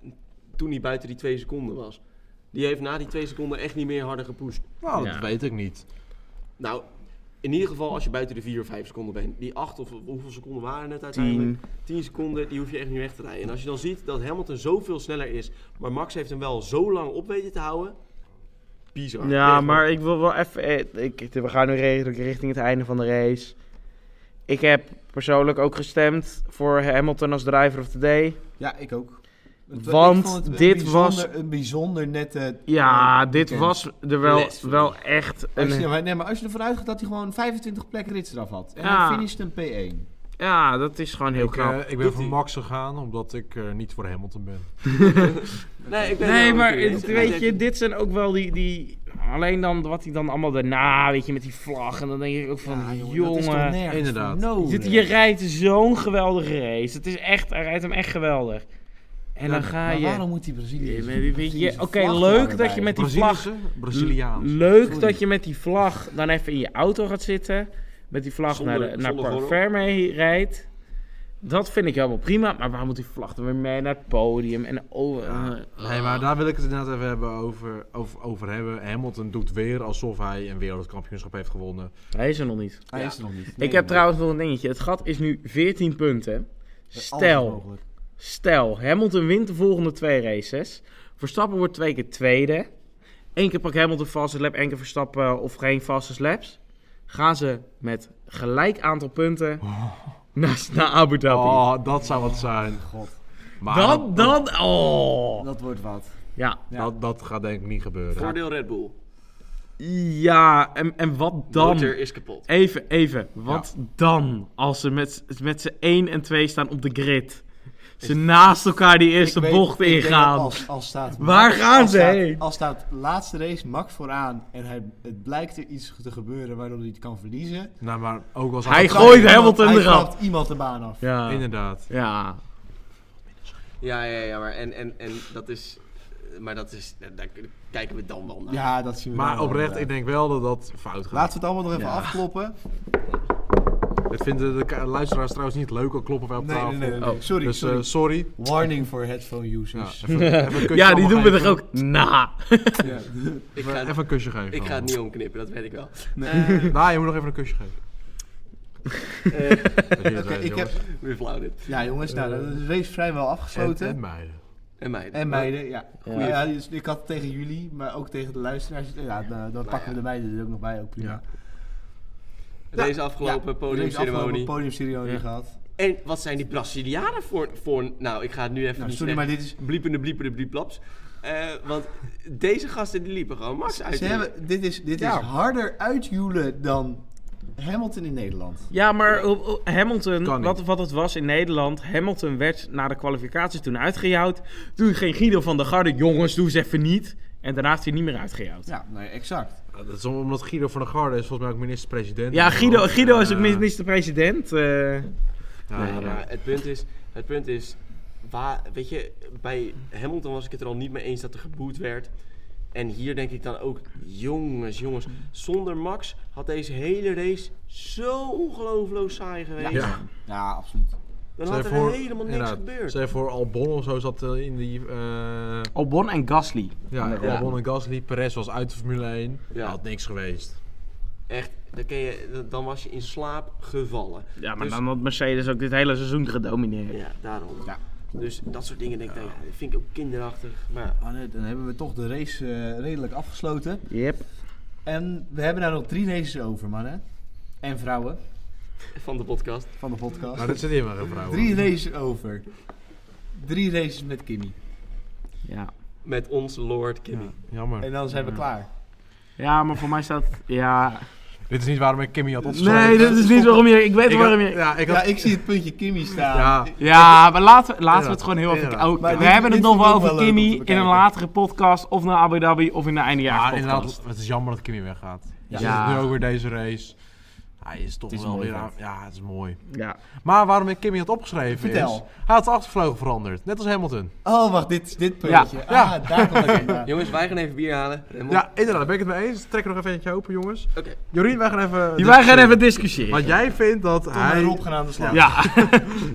S4: toen hij buiten die twee seconden was. Die heeft na die twee seconden echt niet meer harder gepusht.
S2: Nou, dat
S3: Ja.
S2: weet ik niet.
S4: Nou, in ieder geval als je buiten de vier of vijf seconden bent. Die acht of hoeveel seconden waren het uiteindelijk?
S3: Tien.
S4: 10 seconden, die hoef je echt niet weg te rijden. En als je dan ziet dat Hamilton zoveel sneller is, maar Max heeft hem wel zo lang op weten te houden. Bizar.
S3: Ja,
S4: Echt,
S3: maar ik wil wel even... eh, Ik, we gaan nu re- richting het einde van de race. Ik heb persoonlijk ook gestemd voor Hamilton als driver of the day.
S1: Ja, ik ook. Het-
S3: Want
S1: ik vond het een
S3: dit
S1: bijzonder- Een bijzonder nette...
S3: Ja,
S1: eh,
S3: dit
S1: weekend.
S3: was er wel,
S4: Les.
S3: wel echt
S1: Als je,
S3: een...
S1: maar- nee, maar als je ervan uitgaat dat hij gewoon 25 plek rits eraf had. En
S3: Ja.
S1: hij finisht een P1.
S3: Ja, dat is gewoon heel
S2: Ik, eh,
S3: knap.
S2: ik ben voor Max gegaan omdat ik eh, niet voor Hamilton ben.
S4: Nee, ik ben het
S3: Nee,
S4: wel
S3: maar
S4: met je
S3: het-
S4: eens.
S3: weet je, dit zijn ook wel die, die... Alleen dan wat hij dan allemaal daarna, weet je, met die vlag. En dan denk ik ook van,
S1: Ja,
S3: jongen...
S1: dat is toch nergens
S2: inderdaad.
S1: voor nodig?
S3: Dit, je rijdt zo'n geweldige race. Het is echt, hij rijdt hem echt geweldig. En dan ga
S1: Maar
S3: je...
S1: waarom moet die Brazilië?
S3: Ja, maar weet je, oké, leuk dat je met die vlag-
S2: Braziliaanse? Braziliaans.
S3: Leuk
S1: Sorry.
S3: dat je met die vlag dan even in je auto gaat zitten. Met die vlag
S4: Zonder-
S3: naar, de, naar
S4: zonder
S3: Parc
S4: gordel.
S3: Ferme rijdt. Dat vind ik helemaal prima. Maar waar moet die vlag dan weer mee naar het podium? En over...
S2: Ah,
S3: eh,
S2: Nee, maar daar wil ik het inderdaad even hebben over, over, over hebben. Hamilton doet weer alsof hij een wereldkampioenschap heeft gewonnen.
S3: Hij is er nog niet.
S1: Hij
S4: Ja.
S1: is er nog niet.
S3: ik heb trouwens nog een dingetje. Het gat is nu 14 punten. Stel, stel, Hamilton wint de volgende twee races. Verstappen wordt twee keer tweede. Eén keer pakt Hamilton vaste lap, één keer Verstappen eh, of geen vaste slaps. Gaan ze met gelijk aantal punten naar, naar Abu Dhabi.
S2: Oh, dat zou wat zijn.
S1: God,
S2: Maar
S3: Dan, dan, oh.
S1: dat wordt wat.
S3: Ja,
S2: Dat, dat gaat denk ik niet gebeuren.
S4: Voordeel Red Bull.
S3: ja en, en wat dan?
S4: Motor is kapot.
S3: Even, even. Wat dan als ze met, met z'n 1 en 2 staan op de grid? Ze naast elkaar die eerste
S1: Ik weet-
S3: bocht
S1: ik denk dat
S3: ingaan.
S1: Als, als staat
S3: Waar
S1: Max-
S3: gaan
S1: als
S3: ze
S1: staat-
S3: heen?
S1: Als staat laatste race Max vooraan en hij, het blijkt er iets te gebeuren waardoor hij het kan verliezen.
S2: Nou, maar ook als
S3: Hij
S2: hij...
S3: gooit
S1: Iemand-
S3: Hamilton
S1: hij
S3: eraf.
S1: trapt iemand de baan af.
S3: Ja.
S2: Inderdaad.
S3: ja.
S4: Ja, ja, ja, maar en, en, en dat is... Maar dat is... Daar daar kijken we dan wel naar.
S1: Ja, dat zien we dan
S2: Maar
S1: wel,
S2: oprecht, ik
S1: inderdaad.
S2: denk wel dat dat fout gaat.
S1: Laten we het allemaal nog even
S2: Ja.
S1: afkloppen.
S2: Het vinden de ka- luisteraars trouwens niet leuk, al kloppen wij op
S1: Nee,
S2: tafel.
S1: nee, nee. nee, nee.
S3: Oh,
S1: sorry,
S2: dus eh,
S1: sorry.
S2: sorry.
S1: Warning voor headphone
S2: Ja,
S1: users.
S2: even- even een kusje
S3: ja, die
S2: allemaal
S3: doen we toch
S2: geven.
S3: ook Nou. na.
S1: Ja.
S4: Ik
S2: Even,
S4: ga,
S2: even een kusje geven.
S4: ik ga het
S2: allemaal.
S4: niet omknippen, dat weet ik wel.
S2: Nou, je moet nog even een kusje geven. Dat
S4: Eh,
S2: jullie het
S1: Oké,
S2: weten,
S1: ik heb,
S2: jongens.
S4: Weer flauw dit.
S1: ja jongens, nou, de race vrijwel
S2: En,
S1: afgesloten.
S2: Eh. en meiden.
S4: En meiden.
S1: En meiden, ja.
S3: Ja.
S1: Maar ja, dus ik had het tegen jullie, maar ook tegen de luisteraars. Nou Ja, dan, dan pakken we de meiden er ook nog bij, ook prima.
S2: Ja.
S4: Deze afgelopen
S1: Ja, deze
S4: podiumceremonie.
S1: afgelopen podiumceremonie
S3: Ja.
S1: gehad. Nou,
S4: En wat zijn die Brazilianen voor, voor... Nou, ik ga het nu even...
S1: Nou,
S4: niet
S1: sorry, maar
S4: zeggen.
S1: dit is...
S4: Bliepende, bliepende, blieplaps. Eh want deze gasten die liepen gewoon Max uit.
S1: Ze hebben, dit is, dit
S2: Ja.
S1: is harder uitjoelen dan Hamilton in Nederland.
S3: Ja, maar oh, oh,
S2: Kan
S3: Hamilton,
S2: niet.
S3: wat, wat het was in Nederland. Hamilton werd na de kwalificaties toen uitgejouwd. Toen ging Guido van der Garde, jongens, doe eens even niet. En daarna is hij niet meer uitgejouwd. Ja,
S1: Ja, nee, exact.
S2: Ja, Ah, Dat is om- omdat Guido van der Garde is volgens mij ook minister-president.
S3: Guido, Guido is ook
S2: Eh,
S3: minister-president. eh.
S2: ja,
S4: Nee,
S2: ja.
S4: maar het punt is, het punt is, waar, weet je, bij Hamilton was ik het er al niet mee eens dat er geboet werd. En hier denk ik dan ook, jongens, jongens, zonder Max had deze hele race zo ongelooflijk saai geweest.
S2: Ja.
S1: Ja, absoluut.
S4: Dan
S2: Stel je
S4: had er
S2: voor-
S4: helemaal niks
S2: inderdaad.
S4: gebeurd.
S2: Stel je voor Albon of zo zat eh, in die... eh,
S3: Albon en Gasly.
S2: ja,
S3: Ja.
S2: Albon en Gasly. Perez was uit de Formule 1.
S4: Ja.
S2: Had niks geweest.
S4: Echt, dan, ken je, dan was je in slaap gevallen.
S3: Ja, maar
S4: Dus-
S3: dan had Mercedes ook dit hele seizoen gedomineerd.
S4: Ja, daarom.
S3: Ja.
S4: Dus dat soort dingen denk ik, nou ja, dat vind ik ook kinderachtig. Maar ja,
S1: Maar nee, dan hebben we toch de race eh, redelijk afgesloten.
S3: Yep.
S1: En we hebben daar nog drie races over, mannen. En vrouwen
S4: van de podcast.
S1: van de podcast.
S2: Maar dat zit hier maar een vrouw.
S1: Drie races over. Drie races met Kimmy.
S3: Ja.
S4: Met ons Lord Kimmy.
S2: Ja, jammer.
S1: En dan zijn we
S3: Ja.
S1: klaar.
S3: ja, maar voor mij staat... Ja.
S2: Dit is niet waarom ik Kimmy had opgeschreven.
S3: Nee, dit is niet waarom je... Ik weet
S2: Ik
S3: waarom
S2: had-
S3: je...
S2: Ja, ik
S1: ja,
S2: had...
S1: ik zie het puntje Kimmy staan.
S2: Ja,
S3: Ja, maar laten, we- laten we
S2: Ja.
S3: het gewoon heel even...
S2: Ja.
S3: ook-
S1: Maar
S3: we
S1: dit-
S3: hebben het
S1: dit
S3: nog
S1: vind ik
S3: wel
S1: ook
S3: over
S1: wel leuk om te
S3: Kimi in een
S1: bekijken.
S3: latere podcast. Of naar Abu Dhabi of in de
S2: maar
S3: eindejaarspodcast.
S2: inderdaad, het is jammer dat Kimmy weggaat.
S1: Ja.
S2: Ja. nu ook weer deze race. Hij is toch
S1: Het is
S2: wel
S1: mooi
S2: weer
S1: vet.
S2: aan- Ja, het is mooi.
S3: Ja.
S2: Maar waarom ik Kimmy had opgeschreven
S1: Vertel.
S2: is... Hij had de achtervleugel veranderd. Net als Hamilton.
S1: Oh, wacht, dit, dit puntje.
S2: Ja.
S1: Ja. Ah, daar komt het vandaan.
S4: Jongens, wij gaan even bier halen. Raymond.
S2: Ja, inderdaad. Daar ben ik het mee eens. Trek er nog even eentje open, jongens.
S4: Oké.
S2: Jorien, wij gaan even...
S3: Ja, Wij gaan
S2: discussiëren.
S3: even discussiëren.
S2: Want jij vindt dat
S1: Tom en
S2: hij...
S1: Rob gaan aan de slag.
S3: Ja.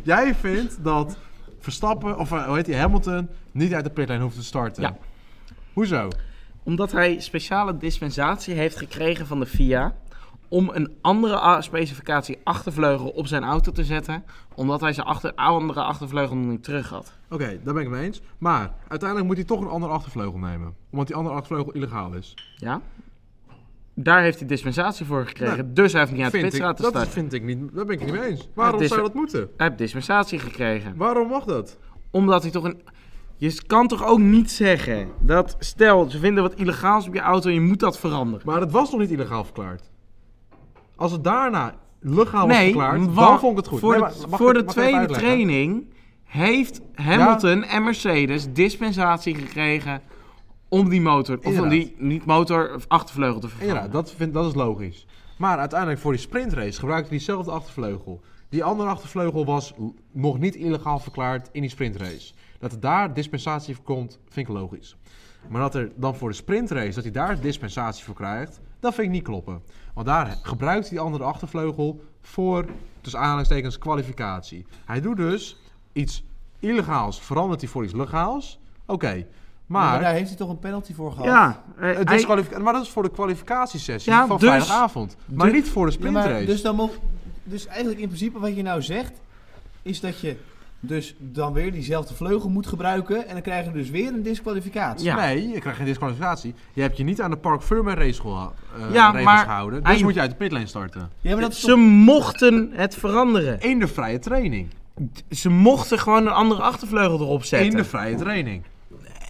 S2: Jij vindt dat Verstappen, of eh, hoe heet die, Hamilton, niet uit de pitlane hoeft te starten.
S3: Ja.
S2: Hoezo?
S3: Omdat hij speciale dispensatie heeft gekregen van de FIA om een andere a- specificatie achtervleugel op zijn auto te zetten, omdat hij zijn achter, andere achtervleugel nog niet terug had.
S2: Oké, daar ben ik mee eens. Maar uiteindelijk moet hij toch een andere achtervleugel nemen. Omdat die andere achtervleugel illegaal is.
S3: Ja? Daar heeft hij dispensatie voor gekregen,
S2: Nou,
S3: dus hij heeft niet uit de
S2: vind ik,
S3: pitstraat te
S2: dat
S3: starten.
S2: vind ik niet, daar ben ik het niet mee eens. Waarom
S3: Het is-
S2: zou dat moeten?
S3: Hij heeft dispensatie gekregen,
S2: Waarom mag dat?
S3: omdat hij toch een... Je kan toch ook niet zeggen dat, stel, ze vinden wat illegaals op je auto en je moet dat veranderen.
S2: Maar het was nog niet illegaal verklaard. Als het daarna legaal Nou, was
S3: nee,
S2: verklaard,
S3: wa-
S2: dan vond ik het goed.
S3: Voor
S2: Nee,
S3: de,
S2: maar mag ik-
S3: voor de
S2: mag ik even
S3: tweede
S2: uitleggen?
S3: training heeft Hamilton en Mercedes dispensatie gekregen om die motor, of om
S2: Inderdaad.
S3: die niet motor, of achtervleugel te vervangen.
S2: Ja, dat, vind, dat is logisch. Maar uiteindelijk voor die sprintrace gebruikte hij diezelfde achtervleugel. Die andere achtervleugel was l- nog niet illegaal verklaard in die sprintrace. Dat er daar dispensatie voor komt, vind ik logisch. Maar dat er dan voor de sprintrace, dat hij daar dispensatie voor krijgt, dat vind ik niet kloppen. Want daar gebruikt hij die andere achtervleugel voor, tussen aanhalingstekens, kwalificatie. Hij doet dus iets illegaals, verandert hij voor iets legaals. Oké,
S1: Maar,
S2: maar...
S1: daar heeft hij toch een penalty voor gehad?
S3: ja, eh,
S2: Het
S3: hij-
S2: is kwalific- maar dat is voor de kwalificatiesessie
S3: Ja,
S2: van
S3: dus-
S2: vrijdagavond. Maar
S3: dus-
S2: niet voor de
S1: Ja, maar
S2: sprintrace.
S1: dus, dan mogen, dus eigenlijk in principe wat je nou zegt, is dat je dus dan weer diezelfde vleugel moet gebruiken. En dan krijgen we dus weer een disqualificatie.
S3: Ja.
S2: Nee, je krijgt geen disqualificatie. Je hebt je niet aan de Park Ferme race geha- eh,
S3: Ja,
S2: regels
S3: maar
S2: gehouden. Dus
S3: hij-
S2: moet je uit de pitlane starten.
S1: Ja, maar dat is
S3: ze mochten het veranderen.
S2: In de vrije training.
S3: Ze mochten gewoon een andere achtervleugel erop zetten.
S2: In de vrije training.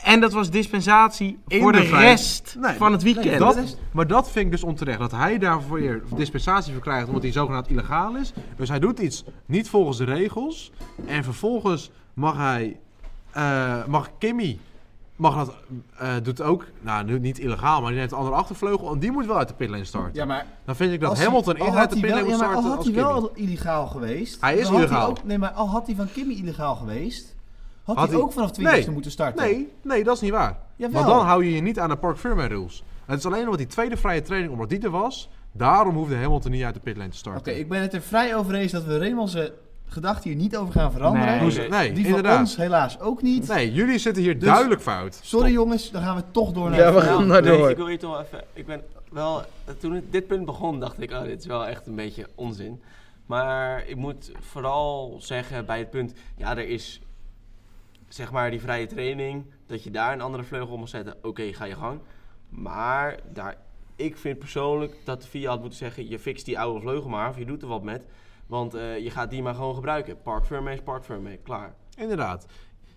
S3: En dat was dispensatie
S2: In
S3: voor de,
S2: de vrij-
S3: rest
S2: Nee,
S3: van het weekend.
S1: nee,
S2: Dat,
S1: dat is-
S2: maar dat vind ik dus onterecht. Dat hij daarvoor weer dispensatie voor krijgt omdat hij zogenaamd illegaal is. Dus hij doet iets niet volgens de regels. En vervolgens mag hij... eh, mag Kimmy... Mag dat, eh, doet ook, nou nu niet illegaal, maar die neemt een andere achtervleugel. En die moet wel uit de pitlane starten.
S1: Ja, maar
S2: Dan vind ik dat
S1: als hij-
S2: Hamilton
S1: al
S2: in
S1: had
S2: uit de
S1: hij wel-
S2: pitlane moet
S1: ja, maar
S2: starten
S1: al had hij
S2: als Kimmy.
S1: wel illegaal geweest.
S2: Hij is
S1: dan had
S2: illegaal.
S1: ook- nee, maar al had hij van Kimmy illegaal geweest, had,
S2: Had
S1: hij
S2: hij-
S1: ook vanaf 20
S2: Nee,
S1: moeten starten.
S2: Nee, nee, dat is niet waar.
S1: Jawel.
S2: Want dan hou je je niet aan de Park Ferme rules. Het is alleen omdat die tweede vrije training, omdat die er was, daarom hoefde Hamilton niet uit de pitlane te
S1: Oké,
S2: starten.
S1: ik ben het er vrij over eens dat we Raymond's eh, gedachten hier niet over gaan veranderen.
S3: Nee.
S2: Hoe ze- nee,
S1: Die van
S2: inderdaad.
S1: ons helaas ook niet.
S2: Nee, jullie zitten hier
S1: Dus-
S2: duidelijk fout.
S1: Sorry jongens, dan gaan we toch door naar
S3: Ja,
S1: het
S3: we
S1: verhaal.
S3: gaan naar
S4: Nee,
S3: door.
S4: ik wil je toch even. Ik ben wel. Toen het- dit punt begon, dacht ik, oh, dit is wel echt een beetje onzin. Maar ik moet vooral zeggen bij het punt, ja, er is zeg maar die vrije training, dat je daar een andere vleugel op mag zetten. Oké, ga je gang. Maar daar, ik vind persoonlijk dat de FIA had moeten zeggen, je fixt die oude vleugel maar, of je doet er wat met. Want eh, je gaat die maar gewoon gebruiken. Park Ferme is Park Ferme, klaar.
S2: Inderdaad.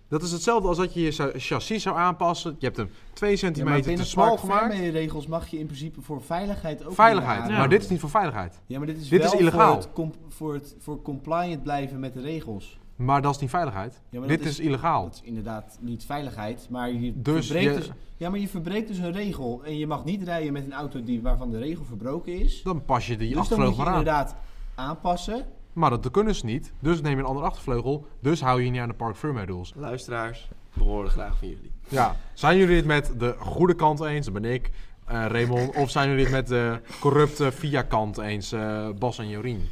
S2: Dat is hetzelfde als dat je je zou- chassis zou aanpassen. Je hebt hem 2
S1: Ja, maar
S2: centimeter
S1: binnen
S2: te smal gemaakt.
S1: de regels mag je in principe voor veiligheid ook
S2: Veiligheid.
S1: niet
S3: Ja.
S2: Maar dit is niet voor veiligheid.
S1: Ja, maar dit is,
S2: Dit
S1: wel
S2: is illegaal.
S1: Voor, het comp- voor, het, voor compliant blijven met de regels.
S2: Maar dat is niet veiligheid.
S1: Ja, maar
S2: dit
S1: dat
S2: is,
S1: is-
S2: illegaal.
S1: Dat is inderdaad niet veiligheid, maar je,
S2: Dus
S1: verbreekt
S2: je-
S1: dus, ja, maar je verbreekt dus een regel. En je mag niet rijden met een auto die, waarvan de regel verbroken is.
S2: Dan pas je
S1: dus
S2: die
S1: dan moet je
S2: achtervleugel maar aan.
S1: inderdaad aanpassen.
S2: Maar dat kunnen ze niet. Dus neem je een andere achtervleugel. Dus hou je je niet aan de Park Ferme rules.
S4: Luisteraars, we horen graag van jullie.
S2: Ja, zijn jullie het met de goede kant eens? Dat ben ik, eh, Raymond. of zijn jullie het met de corrupte via kant eens, eh, Bas en Jorien?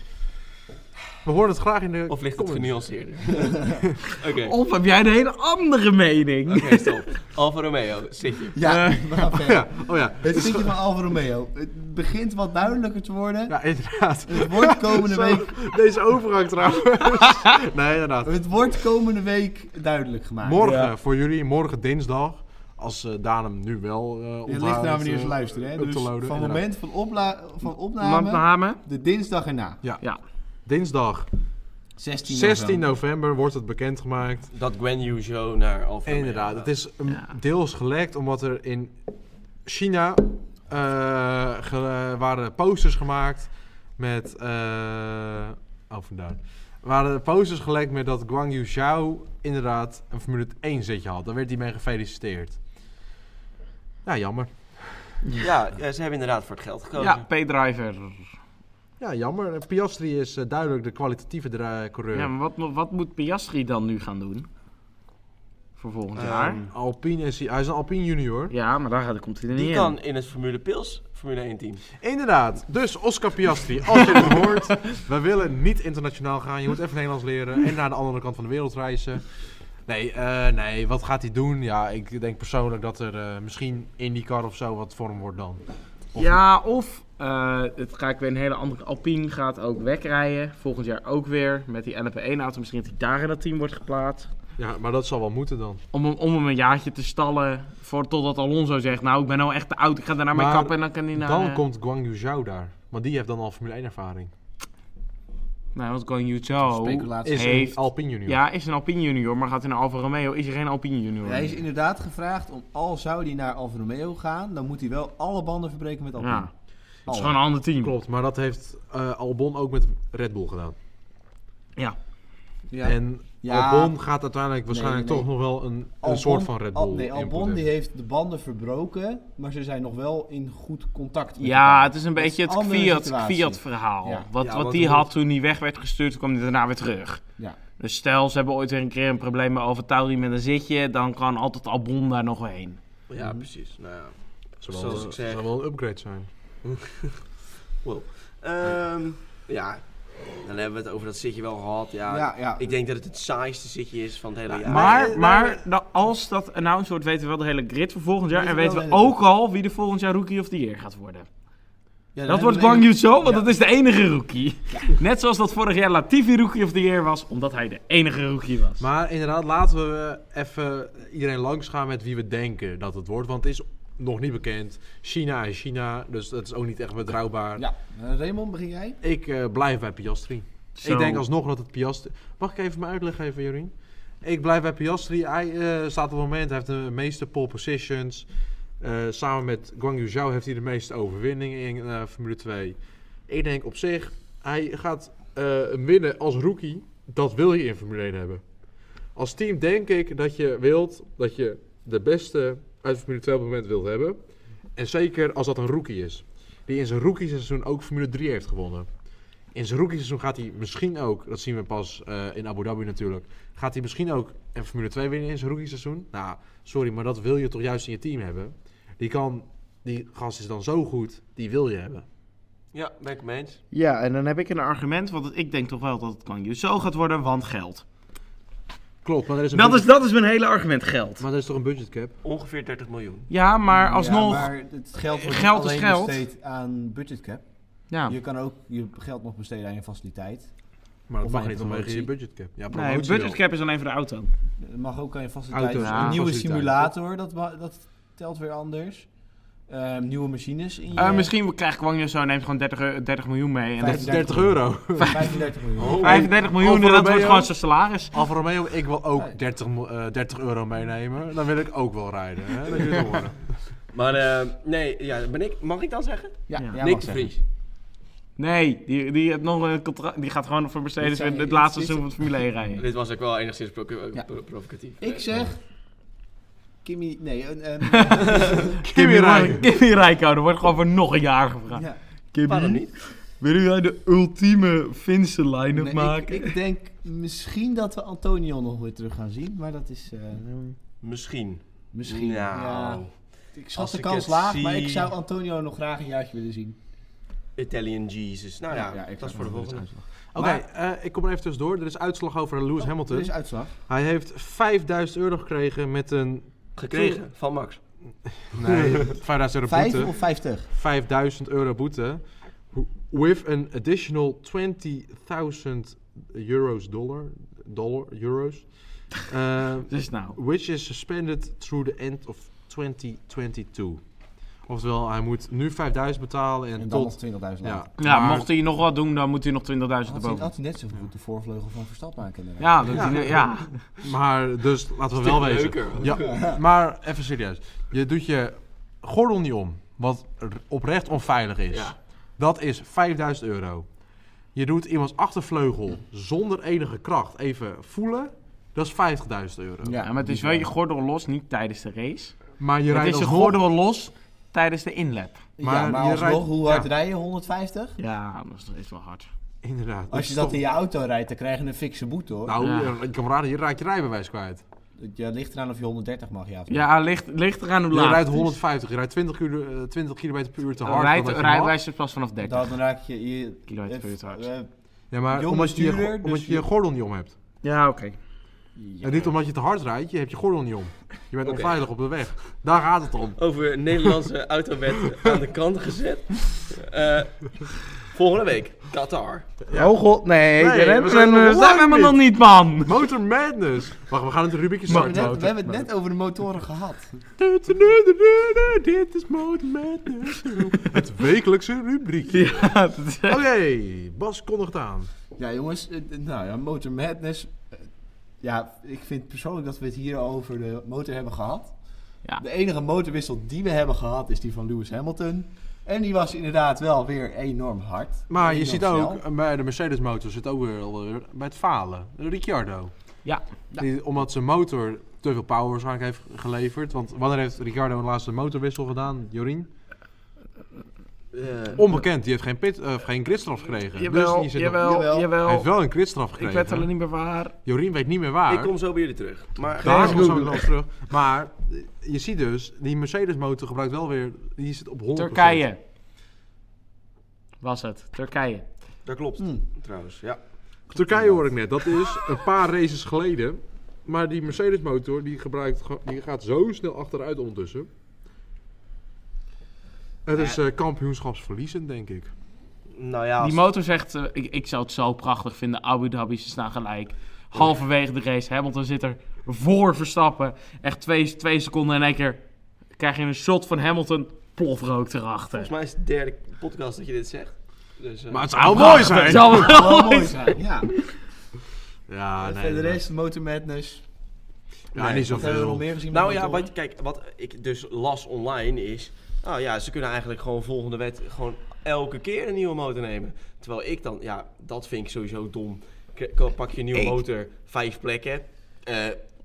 S2: We horen het graag in de
S4: Of ligt het
S2: comments.
S4: genuanceerder? Oké,
S3: Of heb jij een hele andere mening?
S4: oké, stop. Alfa Romeo, zit je.
S1: Ja, we gaan verder.
S2: Ja, oh ja.
S1: Het zitje van Alfa Romeo. Het begint wat duidelijker te worden.
S2: Ja, inderdaad.
S1: Het wordt komende
S2: Nou. Zo,
S1: week
S2: Deze overgang trouwens. nee, inderdaad.
S1: Het wordt komende week duidelijk gemaakt.
S2: Morgen
S3: Ja.
S2: voor jullie, morgen dinsdag. Als eh Daan hem nu wel eh
S1: Het
S2: onthoudt.
S1: ligt naar wanneer
S2: eh,
S1: ze luisteren. Hè?
S2: up
S1: Dus
S2: te loaden,
S1: van het
S2: inderdaad.
S1: moment van, opla- van opname,
S3: Mannenhamen?
S1: de dinsdag erna.
S3: Ja.
S2: Dinsdag
S1: 16
S2: 16 november wordt het bekendgemaakt.
S4: Dat Gwen Yu show naar Alfa Romeo.
S2: Inderdaad, het is een
S3: Ja.
S2: deels gelekt omdat er in China eh, ge- waren posters gemaakt met... eh oh, vandaar. Waren posters gelekt met dat Guang Yu Zhao inderdaad een Formule 1 zetje had. Daar werd hij mee gefeliciteerd. Ja, jammer.
S4: Ja, ja, ze hebben inderdaad voor het geld gekozen.
S3: Ja, P-driver.
S2: Ja, jammer. Eh, Piastri is eh, duidelijk de kwalitatieve dra- coureur.
S3: Ja, maar wat, mo- wat moet Piastri dan nu gaan doen? Voor volgend
S4: Ehm,
S3: jaar?
S2: Alpine is hij. Hij is een Alpine junior.
S3: Ja, maar daar gaat- komt hij er niet
S4: Die
S3: in.
S4: kan in het Formule Pils Formule 1 team.
S2: Inderdaad. Dus Oscar Piastri, als je het hoort. We willen niet internationaal gaan. Je moet even Nederlands leren en naar de andere kant van de wereld reizen. Nee, eh, nee, wat gaat hij doen? Ja, ik denk persoonlijk dat er eh misschien IndyCar of zo wat voor hem wordt dan. Of-
S3: Ja, of eh, het ga ik weer een hele andere. Alpine gaat ook wegrijden. Volgend jaar ook weer. Met die LMP1-auto. Misschien dat hij daar in dat team wordt geplaatst.
S2: Ja, maar dat zal wel moeten dan.
S3: Om, hem- om hem een jaartje te stallen. Voor, totdat Alonso zegt: Nou, ik ben nou echt te oud. Ik ga daarna mee
S2: Maar
S3: kappen. En dan kan hij naar.
S2: dan
S3: eh,
S2: komt Guang Yu Zhao daar. Maar die heeft dan al Formule 1 ervaring.
S3: Nee, want Guan Yu Zhou
S1: Speculatie.
S2: Is
S3: heeft.
S2: een Alpine junior.
S3: Ja, is een Alpine junior. Maar gaat hij naar Alfa Romeo? Is hij geen Alpine junior?
S1: Hij is inderdaad gevraagd om, al zou hij naar Alfa Romeo gaan, dan moet hij wel alle banden verbreken met Alpine.
S3: Ja.
S1: Alle.
S3: Het is gewoon een ander team.
S2: Klopt, maar dat heeft eh, Albon ook met Red Bull gedaan.
S3: Ja.
S1: Ja.
S2: En
S1: Ja.
S2: Albon gaat uiteindelijk waarschijnlijk
S1: nee, nee.
S2: toch nog wel een, een
S1: Albon-
S2: soort van Red Bull.
S1: Al- nee,
S2: input
S1: Albon
S2: hebben.
S1: die heeft de banden verbroken, maar ze zijn nog wel in goed contact met
S3: Ja,
S1: elkaar.
S3: het is een
S1: Dat
S3: beetje
S1: een
S3: het
S1: andere situatie.
S3: Fiat-verhaal.
S1: Ja.
S3: Wat,
S2: Ja,
S3: wat
S2: want
S3: die
S2: het
S3: had toen hij weg werd gestuurd, kwam hij daarna weer terug.
S1: Ja.
S3: Dus stel, ze hebben ooit weer een keer een probleem bij Alfa Tauri met een zitje, dan kan altijd Albon daar nog wel heen.
S1: Mhm.
S4: Ja, precies. Nou ja.
S2: Zou wel-
S4: Zoals ik zeg.
S2: zou wel een upgrade zijn.
S4: Ehm, ja, dan hebben we het over dat zitje wel gehad. Ja,
S1: Ja, ja.
S4: Ik denk dat het het saaiste zitje is van het hele jaar.
S1: eh,
S3: maar maar nou, als dat announced wordt, weten we wel de hele grid voor volgend jaar.
S1: Weten we
S3: En weten
S1: wel
S3: we
S1: de hele
S3: ook al wie de volgend jaar Rookie of the Year gaat worden.
S1: Ja, dan
S3: Dat
S1: hebben
S3: wordt
S1: we
S3: Guang
S1: even-
S3: Yu Zhou, want
S1: Ja.
S3: dat is de enige rookie. Net zoals dat vorig jaar Latifi Rookie of the Year was, omdat hij de enige rookie was.
S2: Maar inderdaad, laten we even iedereen langs gaan met wie we denken dat het wordt. Want het is nog niet bekend. China is China, dus dat is ook niet echt betrouwbaar.
S1: Ja, Eh, Raymond, begin jij?
S2: Ik eh, blijf bij Piastri.
S3: Zo.
S2: Ik denk alsnog dat het Piastri... Mag ik even mijn uitleg geven, Jorien? Ik blijf bij Piastri. Hij eh, staat op het moment, hij heeft de meeste pole positions. Eh, samen met Guang Yu Zhou heeft hij de meeste overwinningen in eh, Formule 2. Ik denk op zich, hij gaat eh, winnen als rookie. Dat wil je in Formule 1 hebben. Als team denk ik dat je wilt dat je de beste uit Formule 2 op het moment wilt hebben. En zeker als dat een rookie is. Die in zijn rookie seizoen ook Formule 3 heeft gewonnen. In zijn rookie seizoen gaat hij misschien ook, dat zien we pas eh, in Abu Dhabi natuurlijk, gaat hij misschien ook een Formule 2 winnen in zijn rookie seizoen. Nou, sorry, maar dat wil je toch juist in je team hebben. Die kan, die gast is dan zo goed, die wil je hebben.
S4: Ja, ben ik mee eens.
S3: Ja, en dan heb ik een argument, want ik denk toch wel dat het Guang Yu Zhou gaat worden, want geld.
S2: Klopt, maar er is, een
S3: Dat is,
S2: budget-
S3: dat is mijn hele argument, geld.
S2: maar er is toch een budgetcap?
S4: Ongeveer 30 miljoen.
S3: Ja, maar
S1: Ja,
S3: alsnog... Ja,
S1: maar het geld wordt
S3: Geld is
S1: alleen
S3: geld.
S1: besteed aan budgetcap. Je kan ook je geld nog besteden aan je faciliteit.
S2: Maar dat
S1: Of
S2: mag
S1: aan
S2: niet
S1: je
S2: vanwege je
S1: promotie.
S2: budgetcap. Ja,
S3: nee,
S2: promotie wel.
S3: budgetcap is alleen voor de auto.
S1: Het mag ook aan je faciliteit.
S2: Auto's,
S1: een
S3: ja.
S1: nieuwe
S2: faciliteit.
S1: simulator, dat, ma- dat telt weer anders. Ehm, nieuwe machines in je...
S3: Eh, misschien krijgt Guang Yu Zhou neemt gewoon 30, eu- 30 miljoen mee. En
S2: Dat
S3: dat,
S2: is 30 euro.
S1: 35 miljoen.
S4: Oh.
S3: 35 miljoen en
S2: Alfa
S3: dat wordt
S2: Romeo.
S3: gewoon zijn salaris.
S2: Alfa Romeo, ik wil
S1: Nee.
S2: ook 30, mo- eh, 30 euro meenemen. Dan wil ik ook wel rijden. Hè? Dat jullie het horen.
S4: Maar eh, nee, ja, ben ik, mag ik dan zeggen?
S1: Ja,
S3: Ja.
S1: ja,
S4: Nick
S1: mag
S4: de
S1: zeggen.
S4: Vries.
S3: Nee, die, die, heeft nog een contract, die gaat gewoon voor Mercedes
S1: Dit zijn-
S3: weer het laatste
S1: dit-
S3: seizoen van de Formule 1 rijden.
S4: Dit was ook wel enigszins pro-
S1: Ja.
S4: pro- provocatief. Eh,
S1: Ik zeg... Kimmy... Nee, eh, eh,
S2: Kimi Räikkönen.
S3: Kimi Räikkönen wordt gewoon voor nog een jaar gevraagd.
S1: ja.
S4: Waarom
S3: Kimi,
S4: niet?
S3: wil jij de ultieme Finse line-up
S1: Nee, ik,
S3: maken?
S1: ik denk misschien dat we Antonio nog weer terug gaan zien, maar dat is eh,
S4: Misschien.
S1: misschien.
S4: Nou,
S1: Ja, ik schat
S4: als
S1: de
S4: ik
S1: kans
S4: het
S1: laag,
S4: zie-
S1: maar ik zou Antonio nog graag een jaartje willen zien.
S4: Italian Jesus. Nou ja,
S1: ik
S4: dat
S1: zou
S4: is voor de
S1: nog wel
S4: volgende.
S1: eens uitzien.
S2: Oké, eh, ik kom er even tussendoor. Er is uitslag over Lewis Hamilton.
S1: Er is uitslag.
S2: Hij heeft 5000 euro gekregen met een...
S4: Gekregen van Max.
S2: Nee, 5000 euro
S1: Vijf
S2: boete.
S1: of vijftig?
S2: 5000 euro boete. With an additional 20.000 euros dollar. Dollar, euros. Eh,
S3: Dus nou.
S2: which is suspended through the end of 2022. Oftewel, hij moet nu 5000 betalen en,
S1: En dan nog
S2: tot...
S1: 20.000 later.
S2: Ja,
S3: Ja,
S2: maar-
S3: mocht hij nog wat doen, dan moet hij nog 20.000
S1: Had hij,
S3: erboven.
S1: had hij net zo goed de voorvleugel van Verstappen aan kunnen raken.
S3: Ja, dat, ja.
S2: Maar dus laten we wel wezen.
S4: Leuker.
S2: Ja, maar even serieus. Je doet je gordel niet om, wat r- oprecht onveilig is.
S4: Ja.
S2: Dat is 5000 euro. Je doet iemands achtervleugel zonder enige kracht even voelen. Dat is 50.000 euro.
S1: Ja,
S3: Ja, maar het is wel je gordel los, niet tijdens de race.
S2: Maar je
S3: het
S2: rijdt
S3: is je
S2: alsnog-
S3: gordel los tijdens de inlap.
S1: maar,
S2: maar je
S1: alsnog,
S2: rijdt-
S1: hoe hard
S2: ja.
S1: rij je? 150?
S3: Ja, dat is nog steeds wel hard.
S2: Inderdaad.
S1: Als je
S2: is
S1: dat
S2: toch-
S1: in je auto rijdt, dan krijg je een fikse boete hoor.
S2: Nou,
S3: Ja.
S2: je- kameraden, je raakt je rijbewijs kwijt.
S1: Ja, het ligt eraan of je 130 mag, ja of nee.
S3: Ja, ligt, ligt eraan hoe laat.
S2: Je rijdt
S3: het is.
S2: 150, je rijdt 20, kilo, eh, 20 km per uur te hard.
S3: Rijd,
S2: dan dat je mag.
S3: rijbewijs is pas vanaf 30
S1: Dan raak je... je
S3: kilometer per uur te hard.
S1: eh,
S2: Ja, maar
S1: Jong
S2: omdat je je,
S1: bestuurder,
S2: go- omdat
S1: dus
S2: je je
S1: je-
S2: gordel niet om hebt.
S3: Ja, oké.
S1: ja.
S2: En niet omdat je te hard rijdt, je hebt je gordel niet om. Je bent
S4: Oké.
S2: onveilig op de weg. Daar gaat het om.
S4: Over Nederlandse autowet aan de kant gezet. Eh, volgende week, Qatar.
S3: Oh god,
S2: Nee,
S3: nee. daar
S2: we
S3: hebben we
S2: zijn nog
S3: hem- daar zijn we
S2: lang
S3: hem nog niet, man.
S2: Motor Madness! Wacht, we gaan het rubriekje
S1: We hebben het
S2: starten.
S1: net- we hebben het net over de motoren gehad.
S2: Dit is Motor Madness. Het wekelijkse rubriekje.
S3: Ja, dat is
S2: Oké, Bas kondigt aan.
S1: Ja, jongens, eh, eh, nou ja, Motor Madness. eh, Ja, ik vind persoonlijk dat we het hier over de motor hebben gehad.
S3: Ja.
S1: De enige motorwissel die we hebben gehad is die van Lewis Hamilton. En die was inderdaad wel weer enorm hard.
S2: Maar je
S1: Enorm
S2: ziet
S1: snel.
S2: ook, eh, bij de Mercedes motor zit ook weer alweer bij het falen. Ricciardo.
S3: Ja.
S2: Die, omdat zijn motor te veel power waarschijnlijk heeft geleverd. Want wanneer heeft Ricciardo een laatste motorwissel gedaan, Jorien?
S4: Eh,
S2: Onbekend, die heeft geen, pit, eh, geen gridstraf gekregen. Dus
S3: Jawel,
S2: die zit nog-
S3: jawel,
S1: Jawel.
S2: Hij
S3: jawel.
S2: heeft wel een gridstraf
S3: Ik
S2: gekregen.
S3: weet alleen niet meer waar.
S2: Jorien weet niet meer waar.
S4: ik kom zo bij jullie terug. Maar
S2: Daar
S3: Nee,
S2: komt zo
S3: Google.
S2: nog terug. Maar eh, je ziet dus, die Mercedes motor gebruikt wel weer... Die zit op 100%.
S3: Turkije. Was het. Turkije.
S4: dat klopt,
S1: Hmm.
S4: trouwens. Ja.
S2: Turkije hoor ik net. Dat is een paar races geleden. Maar die Mercedes motor die gebruikt, ge- die gaat zo snel achteruit ondertussen. Het is eh, kampioenschapsverliezend, denk ik.
S4: Nou ja,
S3: Die
S4: als-
S3: motor zegt, eh, ik, ik zou het zo prachtig vinden. Abu Dhabi, ze staan gelijk. Halverwege de race, Hamilton zit er voor Verstappen. Echt twee, twee seconden en één keer krijg je een shot van Hamilton. Plofrook erachter.
S4: volgens mij is het de derde podcast dat je dit zegt. Dus, eh,
S2: Maar het zou mooi
S3: Dat
S2: zijn.
S3: zal wel
S1: Wel
S3: mooi
S1: mooi zijn, ja.
S2: Ja, nee.
S1: Verder
S2: nee.
S1: is Motor Madness.
S2: Ja,
S4: Nee,
S2: niet
S1: Wat hebben we nog
S2: zoveel.
S1: meer gezien? met
S4: Nou ja,
S1: motoren?
S4: wat, kijk, wat ik dus las online is... Nou ja, ze kunnen eigenlijk gewoon volgende wet gewoon elke keer een nieuwe motor nemen. Terwijl ik dan... Ja, dat vind ik sowieso dom. K- k- pak je een nieuwe
S3: Ik-
S4: motor, vijf plekken. Eh,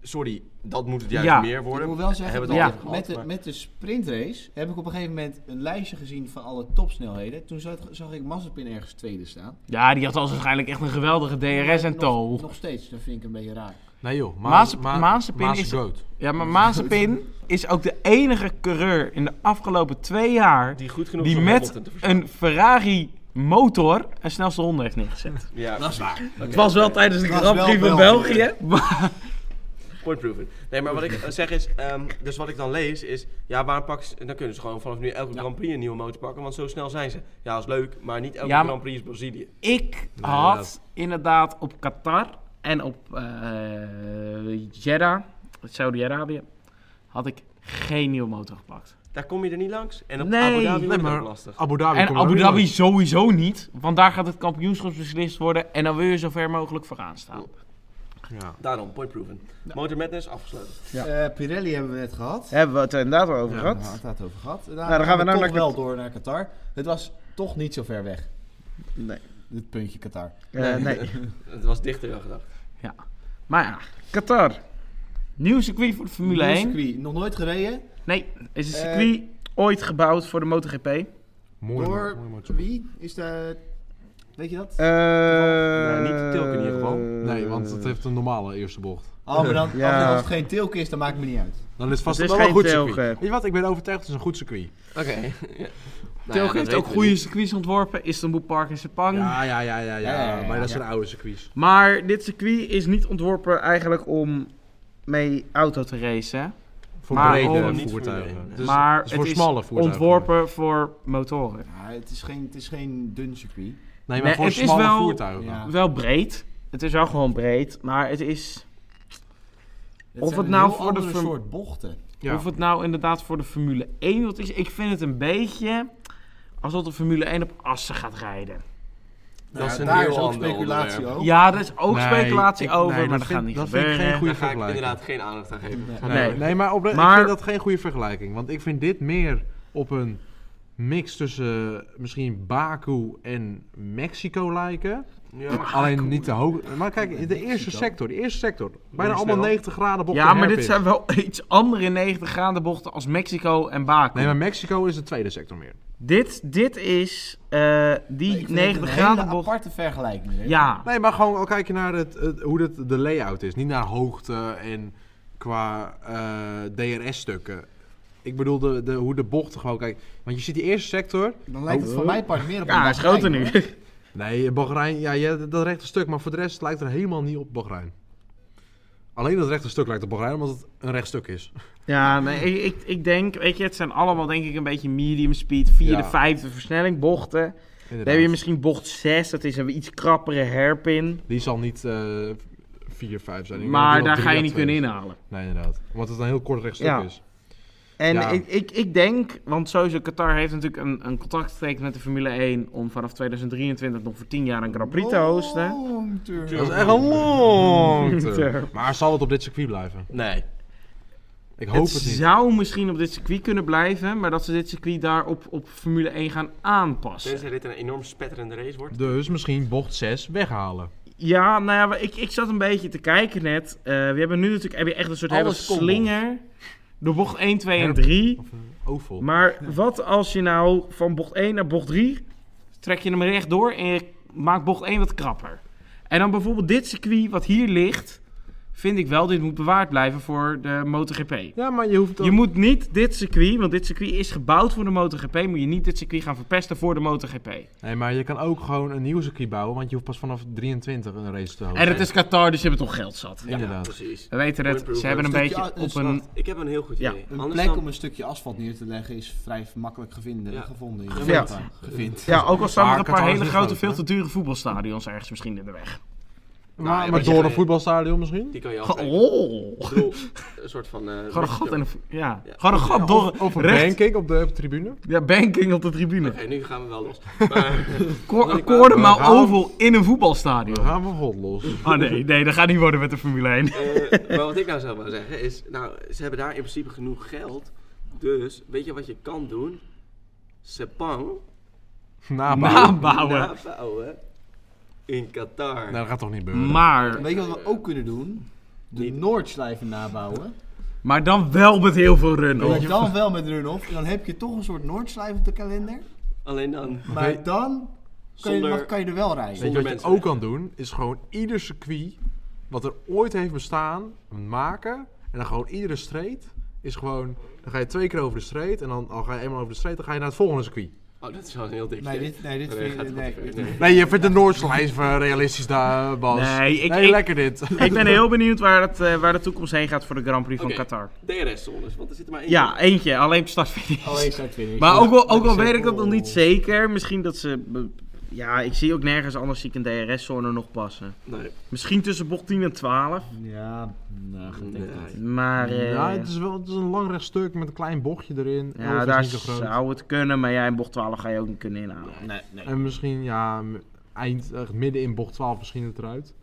S4: sorry, dat moet het juist
S3: Ja.
S4: meer
S1: Ik
S4: worden.
S1: moet wel
S4: Hebben
S1: zeggen,
S4: we het al
S3: Ja.
S4: even
S1: met,
S4: gehad,
S1: de,
S4: maar-
S1: met de sprintrace heb ik op een gegeven moment een lijstje gezien van alle topsnelheden. Toen zag, zag ik Mazepin ergens tweede staan.
S3: Ja, die had al waarschijnlijk echt een geweldige DRS en
S1: Nog-
S3: tow.
S1: Nog steeds, dat vind ik een beetje raar.
S2: Nee joh,
S3: Maas-
S2: Ma-
S3: Mazepin
S2: Maas
S3: is-
S2: groot.
S3: Ja, maar Mazepin is ook de enige coureur in de afgelopen twee jaar...
S4: Die goed genoeg
S3: die
S4: is om
S3: met
S4: Hamilton te verslaan.
S3: een Ferrari motor een snelste ronde heeft neergezet.
S4: Ja,
S1: Dat is waar.
S3: Het was wel tijdens de
S1: Het was
S3: Grand Prix
S1: wel
S3: van
S1: België.
S3: België. maar-
S4: Point proven. Nee, maar wat ik eh, zeg is, ehm, dus wat ik dan lees is, ja, waarom pakken ze, dan kunnen ze gewoon vanaf nu elke Grand Prix een nieuwe motor pakken, want zo snel zijn ze. Ja, is leuk, maar niet elke
S3: Ja, maar-
S4: Grand Prix is Brazilië.
S3: Ik
S2: Nee,
S3: had
S2: dat-
S3: inderdaad op Qatar en op eh Jeddah, Saudi-Arabië, had ik geen nieuwe motor gepakt.
S4: Daar kom je er niet langs. En op
S3: Nee.
S4: Abu Dhabi
S2: Nee,
S4: wordt het
S2: maar-
S4: ook lastig.
S2: Abu Dhabi
S3: en
S2: komt er
S3: Abu
S2: ook
S3: Dhabi
S2: langs.
S3: sowieso niet, want daar gaat het kampioenschap beslist worden en dan wil je zo ver mogelijk vooraan staan.
S2: Ja.
S4: Daarom, point proven. Motor Madness afgesloten.
S1: Eh, Pirelli hebben we net gehad.
S3: Hebben we het inderdaad wel over
S2: Ja,
S1: Daar hadden we het over gehad. Nou,
S3: dan gaan we nou
S1: toch
S3: naar
S1: wel door naar Qatar. Het was toch niet zo ver weg,
S3: Nee.
S1: het puntje Qatar.
S3: Eh,
S4: Het was dichter dan gedacht.
S3: Maar ja, Qatar. Nieuw circuit voor de Formule
S1: Nieuw
S3: 1.
S1: circuit, nog nooit gereden.
S3: Nee, is een
S1: Eh,
S3: circuit ooit gebouwd voor de MotoGP.
S2: Mooi,
S1: door
S2: mooi, mooi, mooi.
S1: wie is de Weet je dat?
S5: Eh,
S4: niet de Tilken in ieder geval.
S2: Nee,
S3: Eh,
S2: want het heeft een normale eerste bocht.
S1: Oh, maar dan,
S5: ja.
S1: oh, als het geen tilk is, dan maakt het me niet uit.
S2: Dan is het vast
S3: Het is
S2: wel een
S3: geen
S2: goed circuit.
S5: Telgen.
S2: Weet je wat, ik ben overtuigd, het is een goed circuit.
S4: Oké.
S2: Nou
S4: Nou
S3: Telgen heeft ook goede circuits ontworpen. Istanbul Park in Sepang.
S2: Ja, ja, ja, ja, ja,
S1: Ja, ja,
S2: maar dat
S1: ja.
S2: zijn oude circuits.
S3: Maar dit circuit is niet ontworpen eigenlijk om mee auto te racen. hè?
S2: Voor
S3: Maar
S2: brede
S3: om-
S2: voertuigen.
S4: Nee.
S2: Dus
S3: maar
S2: het is voor
S3: het is
S2: smalle voertuigen.
S3: Ontworpen voor motoren.
S1: Ja, het, is geen, het is geen dun circuit.
S2: Nee, maar
S3: Nee,
S2: voor
S3: het is
S2: smalle
S3: wel-
S2: voertuigen.
S1: Ja.
S3: Wel breed. Het is wel gewoon breed, maar het is...
S1: Het
S3: Of
S1: zijn
S3: het nou
S1: heel
S3: voor de
S1: andere
S3: verm-
S1: soort bochten.
S2: Ja.
S3: Of het nou inderdaad voor de Formule 1 wat is. Ik vind het een beetje alsof de Formule 1 op assen gaat rijden.
S4: Dat is
S1: Ja,
S4: een
S1: daar
S4: heel
S1: is ook
S4: ander
S1: speculatie
S4: onderwerp.
S1: over.
S3: Ja, daar is ook
S2: Oh. Nee,
S3: speculatie
S2: ik-
S3: over,
S2: nee,
S3: maar
S2: dat
S3: dat gaat
S2: vind-
S3: niet
S2: dat vind ik
S3: gebeuren.
S2: geen goede
S4: Daar ga ik
S2: vergelijking.
S4: inderdaad geen aandacht aan geven.
S1: Nee.
S3: Nee.
S2: Nee, maar, oprecht,
S3: Maar-
S2: ik vind dat geen goede vergelijking. Want ik vind dit meer op een mix tussen eh, misschien Baku en Mexico lijken.
S4: Ja.
S2: Alleen niet te hoog. Maar kijk, de
S1: Mexico.
S2: eerste sector, de eerste sector. Bijna
S4: Links
S2: allemaal
S4: wel.
S2: 90 graden bochten.
S3: Ja,
S2: en
S3: maar dit
S2: hairpins.
S3: zijn wel iets andere 90 graden bochten als Mexico en Baku.
S2: Nee, maar Mexico is de tweede sector meer.
S3: Dit, dit is eh, die
S1: Ik vind het
S3: 90
S1: een
S3: graden
S1: hele
S3: bocht.
S1: aparte vergelijking. hè?
S3: Ja,
S2: Nee, maar gewoon al kijk je naar het, het- hoe dit, de layout is. Niet naar hoogte en qua eh, DRS-stukken. Ik bedoel de, de, hoe de bochten gewoon kijk. Want je ziet die eerste sector.
S1: Dan lijkt het voor mij part meer op een
S3: Oh. ja hij is groter
S1: Bahrein,
S3: nu.
S1: hoor.
S2: Nee, Bahrein, ja, je hebt dat rechte stuk. Maar voor de rest lijkt er helemaal niet op Bahrein. Alleen dat rechte stuk lijkt op Bahrein, omdat het een recht stuk is.
S3: Ja, nee, ik, ik, ik denk, weet je, het zijn allemaal denk ik een beetje medium speed, vierde,
S2: Ja.
S3: vijfde versnelling bochten. Dan heb je misschien bocht 6, dat is een iets krappere hairpin.
S2: Die zal niet eh, 4, 5 zijn. Ik
S3: Maar
S2: denk dat
S3: daar
S2: die
S3: ga je
S2: wel
S3: niet
S2: drie à
S3: kunnen
S2: twee is.
S3: inhalen.
S2: Nee, inderdaad. Omdat het een heel kort rechtstuk
S3: Ja.
S2: is.
S3: En
S2: Ja.
S3: ik, ik, ik denk, want sowieso Qatar heeft natuurlijk een, een contract getekend met de Formule 1 om vanaf 2023 nog voor 10 jaar een Grand Prix te
S1: Oh,
S3: hosten.
S1: Long term.
S2: Dat is echt een long
S3: Term.
S2: term. Maar zal het op dit circuit blijven?
S4: Nee.
S2: Ik hoop het,
S3: het
S2: niet.
S3: zou misschien op dit circuit kunnen blijven, maar dat ze dit circuit daar op, op Formule 1 gaan aanpassen.
S4: Tenzij dit een enorm spetterende race wordt.
S2: Dus misschien bocht 6 weghalen.
S3: Ja, nou ja, maar ik, ik zat een beetje te kijken net. Eh, we hebben nu natuurlijk heb je echt een soort hele
S2: Alles kon nog.
S3: slinger. Door bocht 1, 2 en
S2: Herp.
S3: 3.
S2: Of een oval.
S3: Maar wat als je nou van bocht 1 naar bocht 3 trek je hem rechtdoor en je maakt bocht 1 wat krapper. En dan bijvoorbeeld dit circuit wat hier ligt, vind ik wel, dit moet bewaard blijven voor de MotoGP.
S2: ja, maar je hoeft
S3: Je moet niet dit circuit, want dit circuit is gebouwd voor de MotoGP, moet je niet dit circuit gaan verpesten voor de MotoGP.
S2: Nee, maar je kan ook gewoon een nieuw circuit bouwen, want je hoeft pas vanaf 23 een race te houden.
S3: En het is Qatar, dus je hebt toch geld zat.
S2: Inderdaad.
S4: Precies.
S3: We weten het, ze hebben een beetje
S1: Stukje-
S3: op een...
S4: Ik heb een heel goed
S3: Ja.
S4: idee.
S1: Een
S4: Anders
S1: plek
S4: dan-
S1: om een stukje asfalt neer te leggen is vrij makkelijk gevinden,
S4: Ja.
S1: gevonden. in
S4: Gevind.
S1: Europa. Gevind.
S3: Ja, ook al staan
S2: Maar
S3: er een paar
S2: Qatar is
S3: hele
S2: niet
S3: grote,
S2: groot,
S3: veel
S2: hè?
S3: te dure voetbalstadions ergens misschien in de weg.
S2: maar
S4: Nou, ja,
S2: maar
S4: wat je
S2: door
S4: zei-
S2: een voetbalstadion misschien?
S4: Die kan je
S3: Ge-
S4: afbreken.
S3: Oh!
S4: Ik bedoel, een soort van... eh,
S3: Gewoon een
S4: beetje
S3: gat
S4: door.
S3: in een... Ja.
S4: Ja.
S3: Gewoon een gat door...
S2: Of, of een
S3: recht-
S2: banking op de tribune?
S3: Ja, banking op de tribune.
S4: Oké, nu gaan we wel los. Maar,
S3: Ko-
S4: Nee,
S3: Een koordemaal
S2: maar-
S3: oval in een
S2: Dan
S3: voetbalstadion.
S2: gaan we hot los.
S3: Ah nee, nee, dat gaat niet worden met de Formule 1.
S4: eh, maar wat ik nou zou willen zeggen is... Nou, ze hebben daar in principe genoeg geld. Dus, weet je wat je kan doen? Sepang
S2: Nabouwen.
S3: Nabouwen.
S4: nabouwen in Qatar.
S2: Nee, dat gaat toch niet gebeuren?
S3: Maar,
S1: Weet je wat we ook kunnen doen? De
S4: Niet.
S1: Noordslijven nabouwen.
S3: maar dan wel met heel veel runnen.
S1: En dan wel met run-off. En dan heb je toch een soort Noordslijf op de kalender.
S4: Alleen dan...
S1: Maar dan kan je,
S4: Zonder-
S1: kan je er wel rijden.
S2: Weet je wat
S4: Zonder
S2: je
S4: mensen
S2: ook
S4: weg.
S2: kan doen? Is gewoon ieder circuit wat er ooit heeft bestaan, maken. En dan gewoon iedere street is gewoon... Dan ga je twee keer over de street en dan al ga je eenmaal over de street, dan ga je naar het volgende circuit.
S4: Oh, dat is wel een heel dik
S1: Nee,
S4: idee.
S1: dit, nee, dit
S4: Nee,
S1: vind
S4: gaat
S1: je...
S4: het
S1: Nee,
S4: wel
S1: dit-
S4: gebeuren.
S2: Nee, je vindt de Noordslijf eh, realistisch daar, Bas.
S3: Nee, ik-
S2: Nee,
S3: ik-
S2: lekker dit.
S3: Ik ben heel benieuwd waar, het, eh, waar de toekomst heen gaat voor de Grand Prix van
S4: Oké.
S3: Qatar.
S4: DRS-zones, want er zit er maar één.
S3: Ja, eentje, alleen op start
S1: Alleen start finish.
S3: Maar ook al, ook al
S1: is
S3: weet
S1: echt-
S3: ik dat nog
S1: oh.
S3: niet zeker, misschien dat ze... be- Ja, ik zie ook nergens anders zie ik een DRS-zone nog passen.
S4: Nee.
S3: Misschien tussen bocht 10 en 12,
S1: Ja, nou, ik denk dat.
S3: maar... eh,
S2: Ja, het is wel het is een lang recht stuk met een klein bochtje erin. Elf
S3: Ja,
S2: is
S3: daar
S2: niet zo groot.
S3: zou het kunnen, maar ja, in bocht 12 ga je ook niet kunnen inhalen.
S1: Nee, nee.
S2: En misschien, ja, m- eind, eh, midden in bocht 12 misschien het eruit.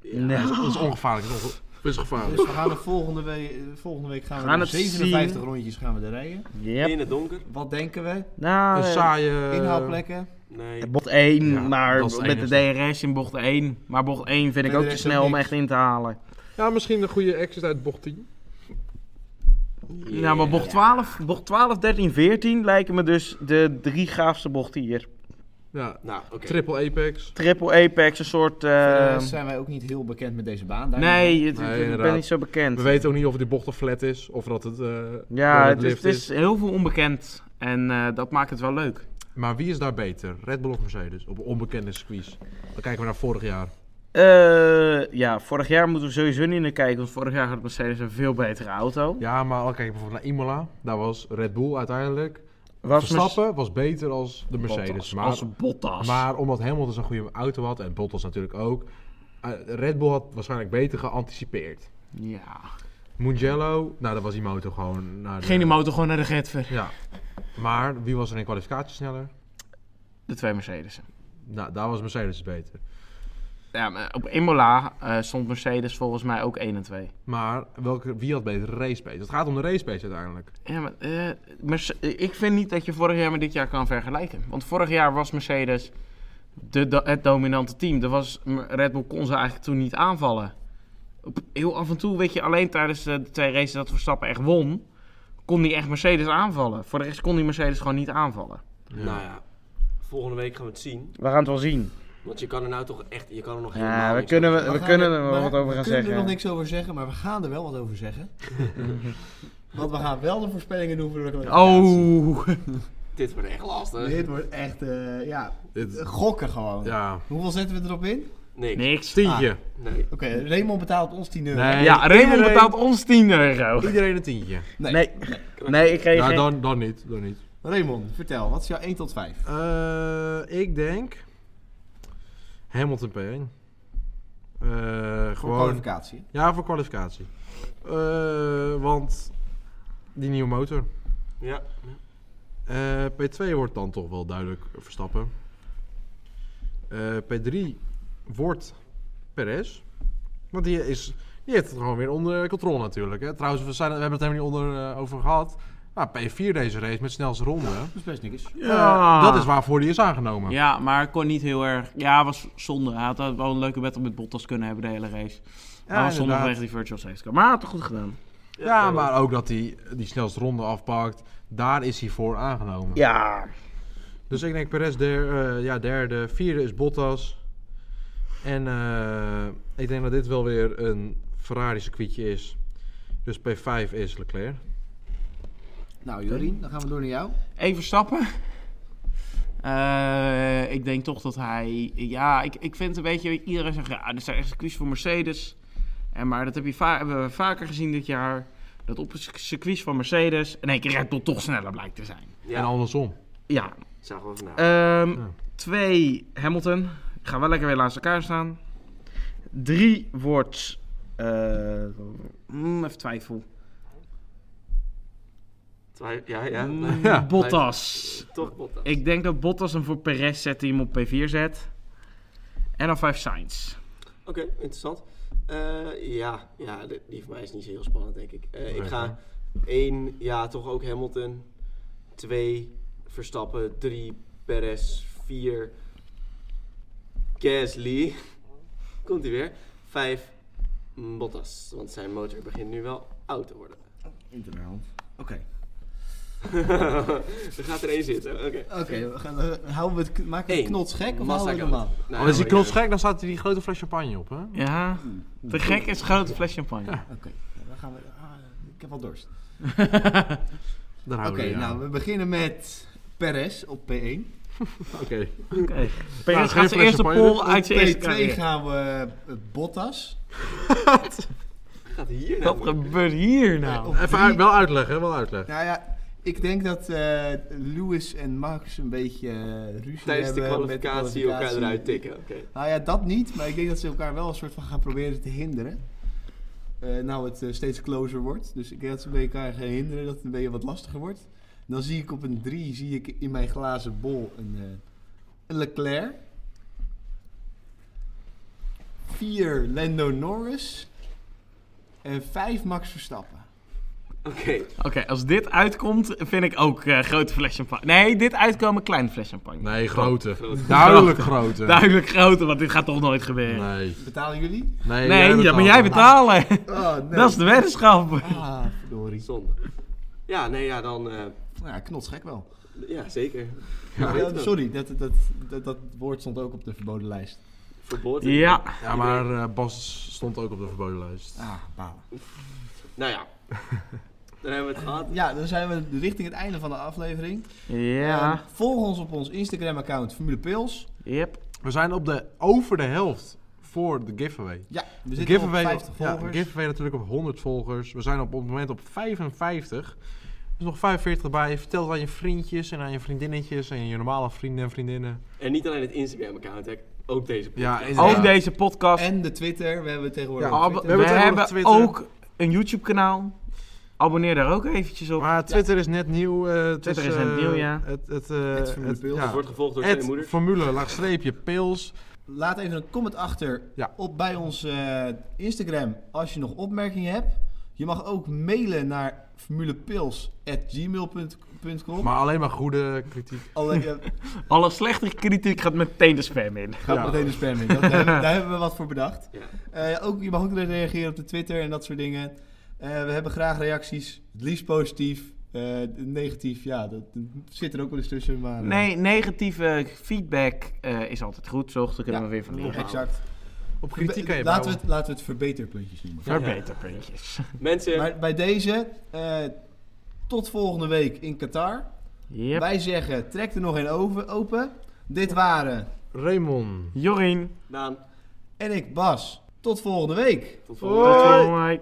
S4: Ja.
S3: Nee.
S2: Dat is- dat is ongevaarlijk. Dat is onge- dat is gevaarlijk.
S1: Dus we gaan de volgende week, eh, volgende week gaan we
S3: Gaan
S1: nog
S3: het
S1: 57
S3: zien.
S1: rondjes gaan we er rijden.
S3: Yep.
S4: In het donker?
S1: Wat denken we?
S3: Nou,
S2: Een
S3: eh,
S2: saaie...
S1: Inhaalplekken?
S4: Nee.
S3: bocht 1,
S2: Ja,
S3: maar
S2: dat is het
S3: met de DRS in bocht 1. Maar bocht 1 vind ik
S1: Met
S3: ook
S1: de
S3: te
S1: rest ook
S3: snel om
S1: niks.
S3: echt in te halen.
S2: Ja, misschien een goede exit uit bocht 10.
S3: Ja, Nou, maar bocht 12, bocht 12, 13, 14 lijken me dus de drie gaafste bochten hier.
S2: Ja.
S4: Nou, oké.
S2: Triple Apex.
S3: Triple Apex, een soort... eh,
S5: Verder zijn wij ook niet heel bekend met deze baan. Daar
S3: nee, het-
S2: Nee,
S3: het- ik ben
S2: inderdaad.
S3: niet zo bekend.
S2: We weten ook niet of het die bocht of flat is, of dat het... eh,
S3: ja,
S2: dat
S3: het, is-
S2: lift
S3: het is heel veel onbekend. En eh, dat maakt het wel leuk.
S2: Maar wie is daar beter? Red Bull of Mercedes? Op een onbekende squeeze. Dan kijken we naar vorig jaar.
S3: Eh, ja, vorig jaar moeten we sowieso niet naar kijken. Want vorig jaar had Mercedes een veel betere auto.
S2: Ja, maar al kijk bijvoorbeeld naar Imola. Daar was Red Bull uiteindelijk.
S3: Was Mercedes-
S2: Verstappen was beter als de Mercedes.
S3: Bottas,
S2: maar,
S3: als Bottas.
S2: maar omdat Hamilton zo'n goede auto had, en Bottas natuurlijk ook. eh, Red Bull had waarschijnlijk beter geanticipeerd.
S3: Ja.
S2: Mugello, nou dat was die motor gewoon. Naar de-
S3: Ging die motor gewoon naar de Getver.
S2: Ja. Maar wie was er in kwalificatie sneller?
S3: De twee Mercedes.
S2: Nou, daar was Mercedes beter.
S3: Ja, maar op Imola eh, stond Mercedes volgens mij ook 1 en 2.
S2: Maar welke, wie had beter race pace? Het gaat om de race pace uiteindelijk.
S3: Ja, maar, eh, Merce- eh, ik vind niet dat je vorig jaar met dit jaar kan vergelijken. Want vorig jaar was Mercedes de, do- het dominante team. Er was, Red Bull kon ze eigenlijk toen niet aanvallen. Op- heel af en toe, weet je, alleen tijdens de, de twee races dat Verstappen echt won, kon die echt Mercedes aanvallen. Voor de rest kon die Mercedes gewoon niet aanvallen.
S4: Nou ja, volgende week gaan we het zien.
S3: We gaan het wel zien.
S4: Want je kan er nou toch echt, je kan er nog helemaal
S3: Ja, we
S4: niks
S3: kunnen, we,
S1: Maar
S3: we
S1: gaan
S3: kunnen
S1: er-
S3: er wel
S1: maar
S3: wat over
S1: We
S3: gaan
S1: kunnen er nog
S3: zeggen.
S1: niks over zeggen, maar we gaan er wel wat over zeggen. Want we gaan wel de voorspellingen doen voor de kwalificatie.
S3: Oh,
S4: over- Dit wordt echt lastig.
S1: Dit wordt echt, eh, ja,
S2: Dit,
S1: gokken gewoon.
S2: ja,
S1: Hoeveel zetten we erop in?
S4: Nee. nee.
S3: niks.
S2: tientje.
S4: nee.
S1: Oké, Raymond betaalt ons 10 euro.
S2: Nee.
S3: Ja, Raymond
S2: Iedereen-
S3: betaalt ons 10 euro.
S2: Iedereen een tientje.
S1: Nee.
S3: Nee, nee ik kreeg
S2: Ja,
S3: Ah. geen...
S2: Nou, dan, dan niet. Dan niet.
S1: Raymond, vertel, wat is jouw 1 tot 5?
S2: Eh, ik denk Hamilton P1. Eh,
S1: Voor
S2: gewoon.
S1: kwalificatie.
S2: Ja, voor kwalificatie. Eh, want die nieuwe motor.
S4: Ja.
S2: Eh, P2 wordt dan toch wel duidelijk Verstappen. Eh, P3 wordt Perez. Want die, is, die heeft het gewoon weer onder controle natuurlijk. Hè. Trouwens, we, zijn, we hebben het helemaal niet onder, eh, over gehad. Maar P4 deze race met snelste ronde.
S1: Dat is best niks.
S3: Ja.
S2: Eh, dat is waarvoor die is aangenomen.
S6: Ja, maar kon niet heel erg. Ja, was zonde. Hij had wel een leuke battle met Bottas kunnen hebben de hele race. maar was zonde
S2: inderdaad.
S6: vanwege die virtual safety car. Maar hij had het goed gedaan.
S2: Ja, maar ook dat hij die snelste ronde afpakt. Daar is hij voor aangenomen.
S3: Ja,
S2: Dus ik denk Perez der, eh, ja, derde. Vierde is Bottas. En eh, ik denk dat dit wel weer een Ferrari circuitje is. Dus P5 is Leclerc.
S1: Nou Jorien, dan gaan we door naar jou.
S6: Even stappen. Eh, ik denk toch dat hij. Ja, ik, ik vind een beetje. Iedereen zegt. Ja, er zijn echt circuits voor Mercedes. En, maar dat heb je va- hebben we vaker gezien dit jaar. Dat op een circ- circuit van Mercedes. in één keer Red Bull toch sneller blijkt te zijn.
S4: Ja,
S2: En andersom.
S3: ja.
S4: zagen we vandaag.
S3: Ehm,
S2: Ja.
S3: Twee, Hamilton. Ik ga wel lekker weer naast elkaar staan. Drie wordt... eh, mm, even twijfel.
S4: Twa- Ja, ja.
S3: Mm,
S2: Ja.
S3: Bottas.
S4: Toch Bottas.
S3: Ik denk dat Bottas hem voor Perez zet die hem op P4 zet. En dan 5 Sainz.
S4: Oké, interessant. Eh, ja, ja, de- die voor mij is niet zo heel spannend, denk ik. Eh, ik
S2: Nee,
S4: ga 1, ja, toch ook Hamilton. 2, Verstappen. 3, Perez. 4, Gasly. Komt hij weer. 5, Bottas. Want zijn motor begint nu wel oud te worden.
S1: Inderdaad. Oké.
S4: er gaat er één zitten. Oké.
S1: Oké, we gaan, eh, houden we het, k- maken we het
S4: Eén.
S1: knotsgek of
S4: Massa
S1: houden we het
S4: goat.
S1: normaal?
S4: Nou,
S2: Al Oh, is die
S4: hoor
S2: knots
S4: je.
S2: gek, dan staat er die grote fles champagne op. Hè?
S6: Ja. Te gek is een grote fles champagne.
S1: Oké, nou, dan gaan we... ah, ik heb wel dorst.
S2: Daar
S1: Oké,
S2: houden we
S1: nou we beginnen met Perez op P1.
S2: Oké.
S3: Perez
S6: Nou, geen
S3: gaat zijn
S6: fles
S3: eerste
S2: champagne.
S6: pol
S1: Op
S6: uit zijn eerste
S1: P2
S6: carrière.
S1: gaan we eh, Bottas.
S4: Gaat hier
S6: Wat
S4: nou?
S6: gebeurt hier nou?
S1: Eh, Op
S2: Even
S1: drie-
S2: uit- wel uitleggen, wel uitleggen.
S1: Nou ja, ik denk dat eh, Lewis en Max een beetje eh, ruzie
S4: Tijdens de
S1: hebben met de
S4: kwalificatie elkaar
S1: kwalificatie.
S4: eruit tikken. Oké.
S1: Nou ja, dat niet, maar ik denk dat ze elkaar wel een soort van gaan proberen te hinderen. Eh, nou, het eh, steeds closer wordt. Dus ik denk dat ze bij elkaar gaan hinderen, dat het een beetje wat lastiger wordt. Dan zie ik op een 3, zie ik in mijn glazen bol een, eh, een Leclerc. 4 Lando Norris. En 5 Max Verstappen.
S4: Oké.
S6: Oké, als dit uitkomt, vind ik ook eh, grote fles champagne. Nee, dit uitkomen, kleine fles champagne.
S2: Nee, grote.
S4: Grote.
S2: Duidelijk grote.
S6: Duidelijk grote, want dit gaat toch nooit gebeuren. Nee,
S2: Nee.
S1: Betalen jullie?
S2: Nee,
S6: ja, maar
S2: betaalt
S6: jij
S2: hem.
S6: betalen.
S1: Oh, nee.
S6: Dat is de weddenschap.
S1: Ah, verdorie.
S4: Zonde. Ja, nee, ja, dan... eh,
S1: Nou ja, knotsgek wel.
S4: Ja, zeker.
S1: Ja,
S4: Weet je wel.
S1: sorry, dat, dat, dat, dat woord stond ook op de verboden lijst.
S4: Verboden.
S3: Ja.
S2: Ja, maar eh, Bas stond ook op de verboden lijst.
S1: Ah, balen.
S4: Nou ja. Dan hebben we het gehad.
S1: Ja, dan zijn we richting het einde van de aflevering.
S3: Ja.
S1: Eh, volg ons op ons Instagram-account Formule Pils.
S3: Yep.
S2: We zijn op de, over de helft voor de giveaway.
S1: Ja, we
S2: De
S1: zitten
S2: giveaway,
S1: op 50
S2: ja,
S1: volgers.
S2: de giveaway natuurlijk op 100 volgers. We zijn op, op het moment op 55. Er is nog 45 bij. Vertel het aan je vriendjes en aan je vriendinnetjes en je normale vrienden en vriendinnen.
S4: En niet alleen het Instagram-account, hè. ook deze
S2: Ja,
S4: podcast.
S2: inderdaad.
S3: Ook deze podcast.
S1: En de Twitter, we hebben tegenwoordig
S2: Ja,
S1: ook
S3: Ab-
S1: Twitter.
S3: we hebben,
S2: tegenwoordig Twitter.
S3: ook een YouTube kanaal. Abonneer daar ook eventjes op.
S2: Maar Twitter is net nieuw. eh, het
S3: Twitter
S2: is,
S3: is net
S2: eh,
S3: nieuw, ja.
S2: Het, het, eh,
S1: Het Formule
S2: het-
S1: Pils.
S2: ja.
S4: Het wordt gevolgd door
S2: Het
S4: twee moeders.
S2: formule, laagstreepje, pils.
S1: Laat even een comment achter
S2: Ja.
S1: op bij ons eh, Instagram als je nog opmerkingen hebt. Je mag ook mailen naar formulepils.gmail.com.
S2: Maar alleen maar goede kritiek.
S1: Alleen, eh,
S3: Alle slechte kritiek gaat meteen de spam in.
S1: gaat
S2: Ja.
S1: meteen de spam in. Dat, daar, hebben- daar hebben we wat voor bedacht.
S4: Ja.
S1: Eh, ook, je mag ook reageren op de Twitter en dat soort dingen. Eh, we hebben graag reacties. Het liefst positief. eh, negatief, ja, dat, dat zit er ook wel eens tussen. Maar, eh,
S3: Nee, negatieve feedback eh, is altijd goed, toch? Daar kunnen
S1: Ja.
S3: we weer van leren.
S1: Exact.
S2: Op kritiek kan je
S1: laten, we
S2: bouwen.
S1: het, laten we het verbeterpuntjes noemen.
S3: Verbeterpuntjes.
S4: Mensen,
S1: Maar bij deze, eh, tot volgende week in Qatar.
S3: Yep.
S1: Wij zeggen, trek er nog een over, open. Dit waren
S2: Raymond.
S3: Jorien.
S4: Daan,
S1: en ik, Bas. Tot volgende week.
S4: tot volgende
S3: Tot volgende week.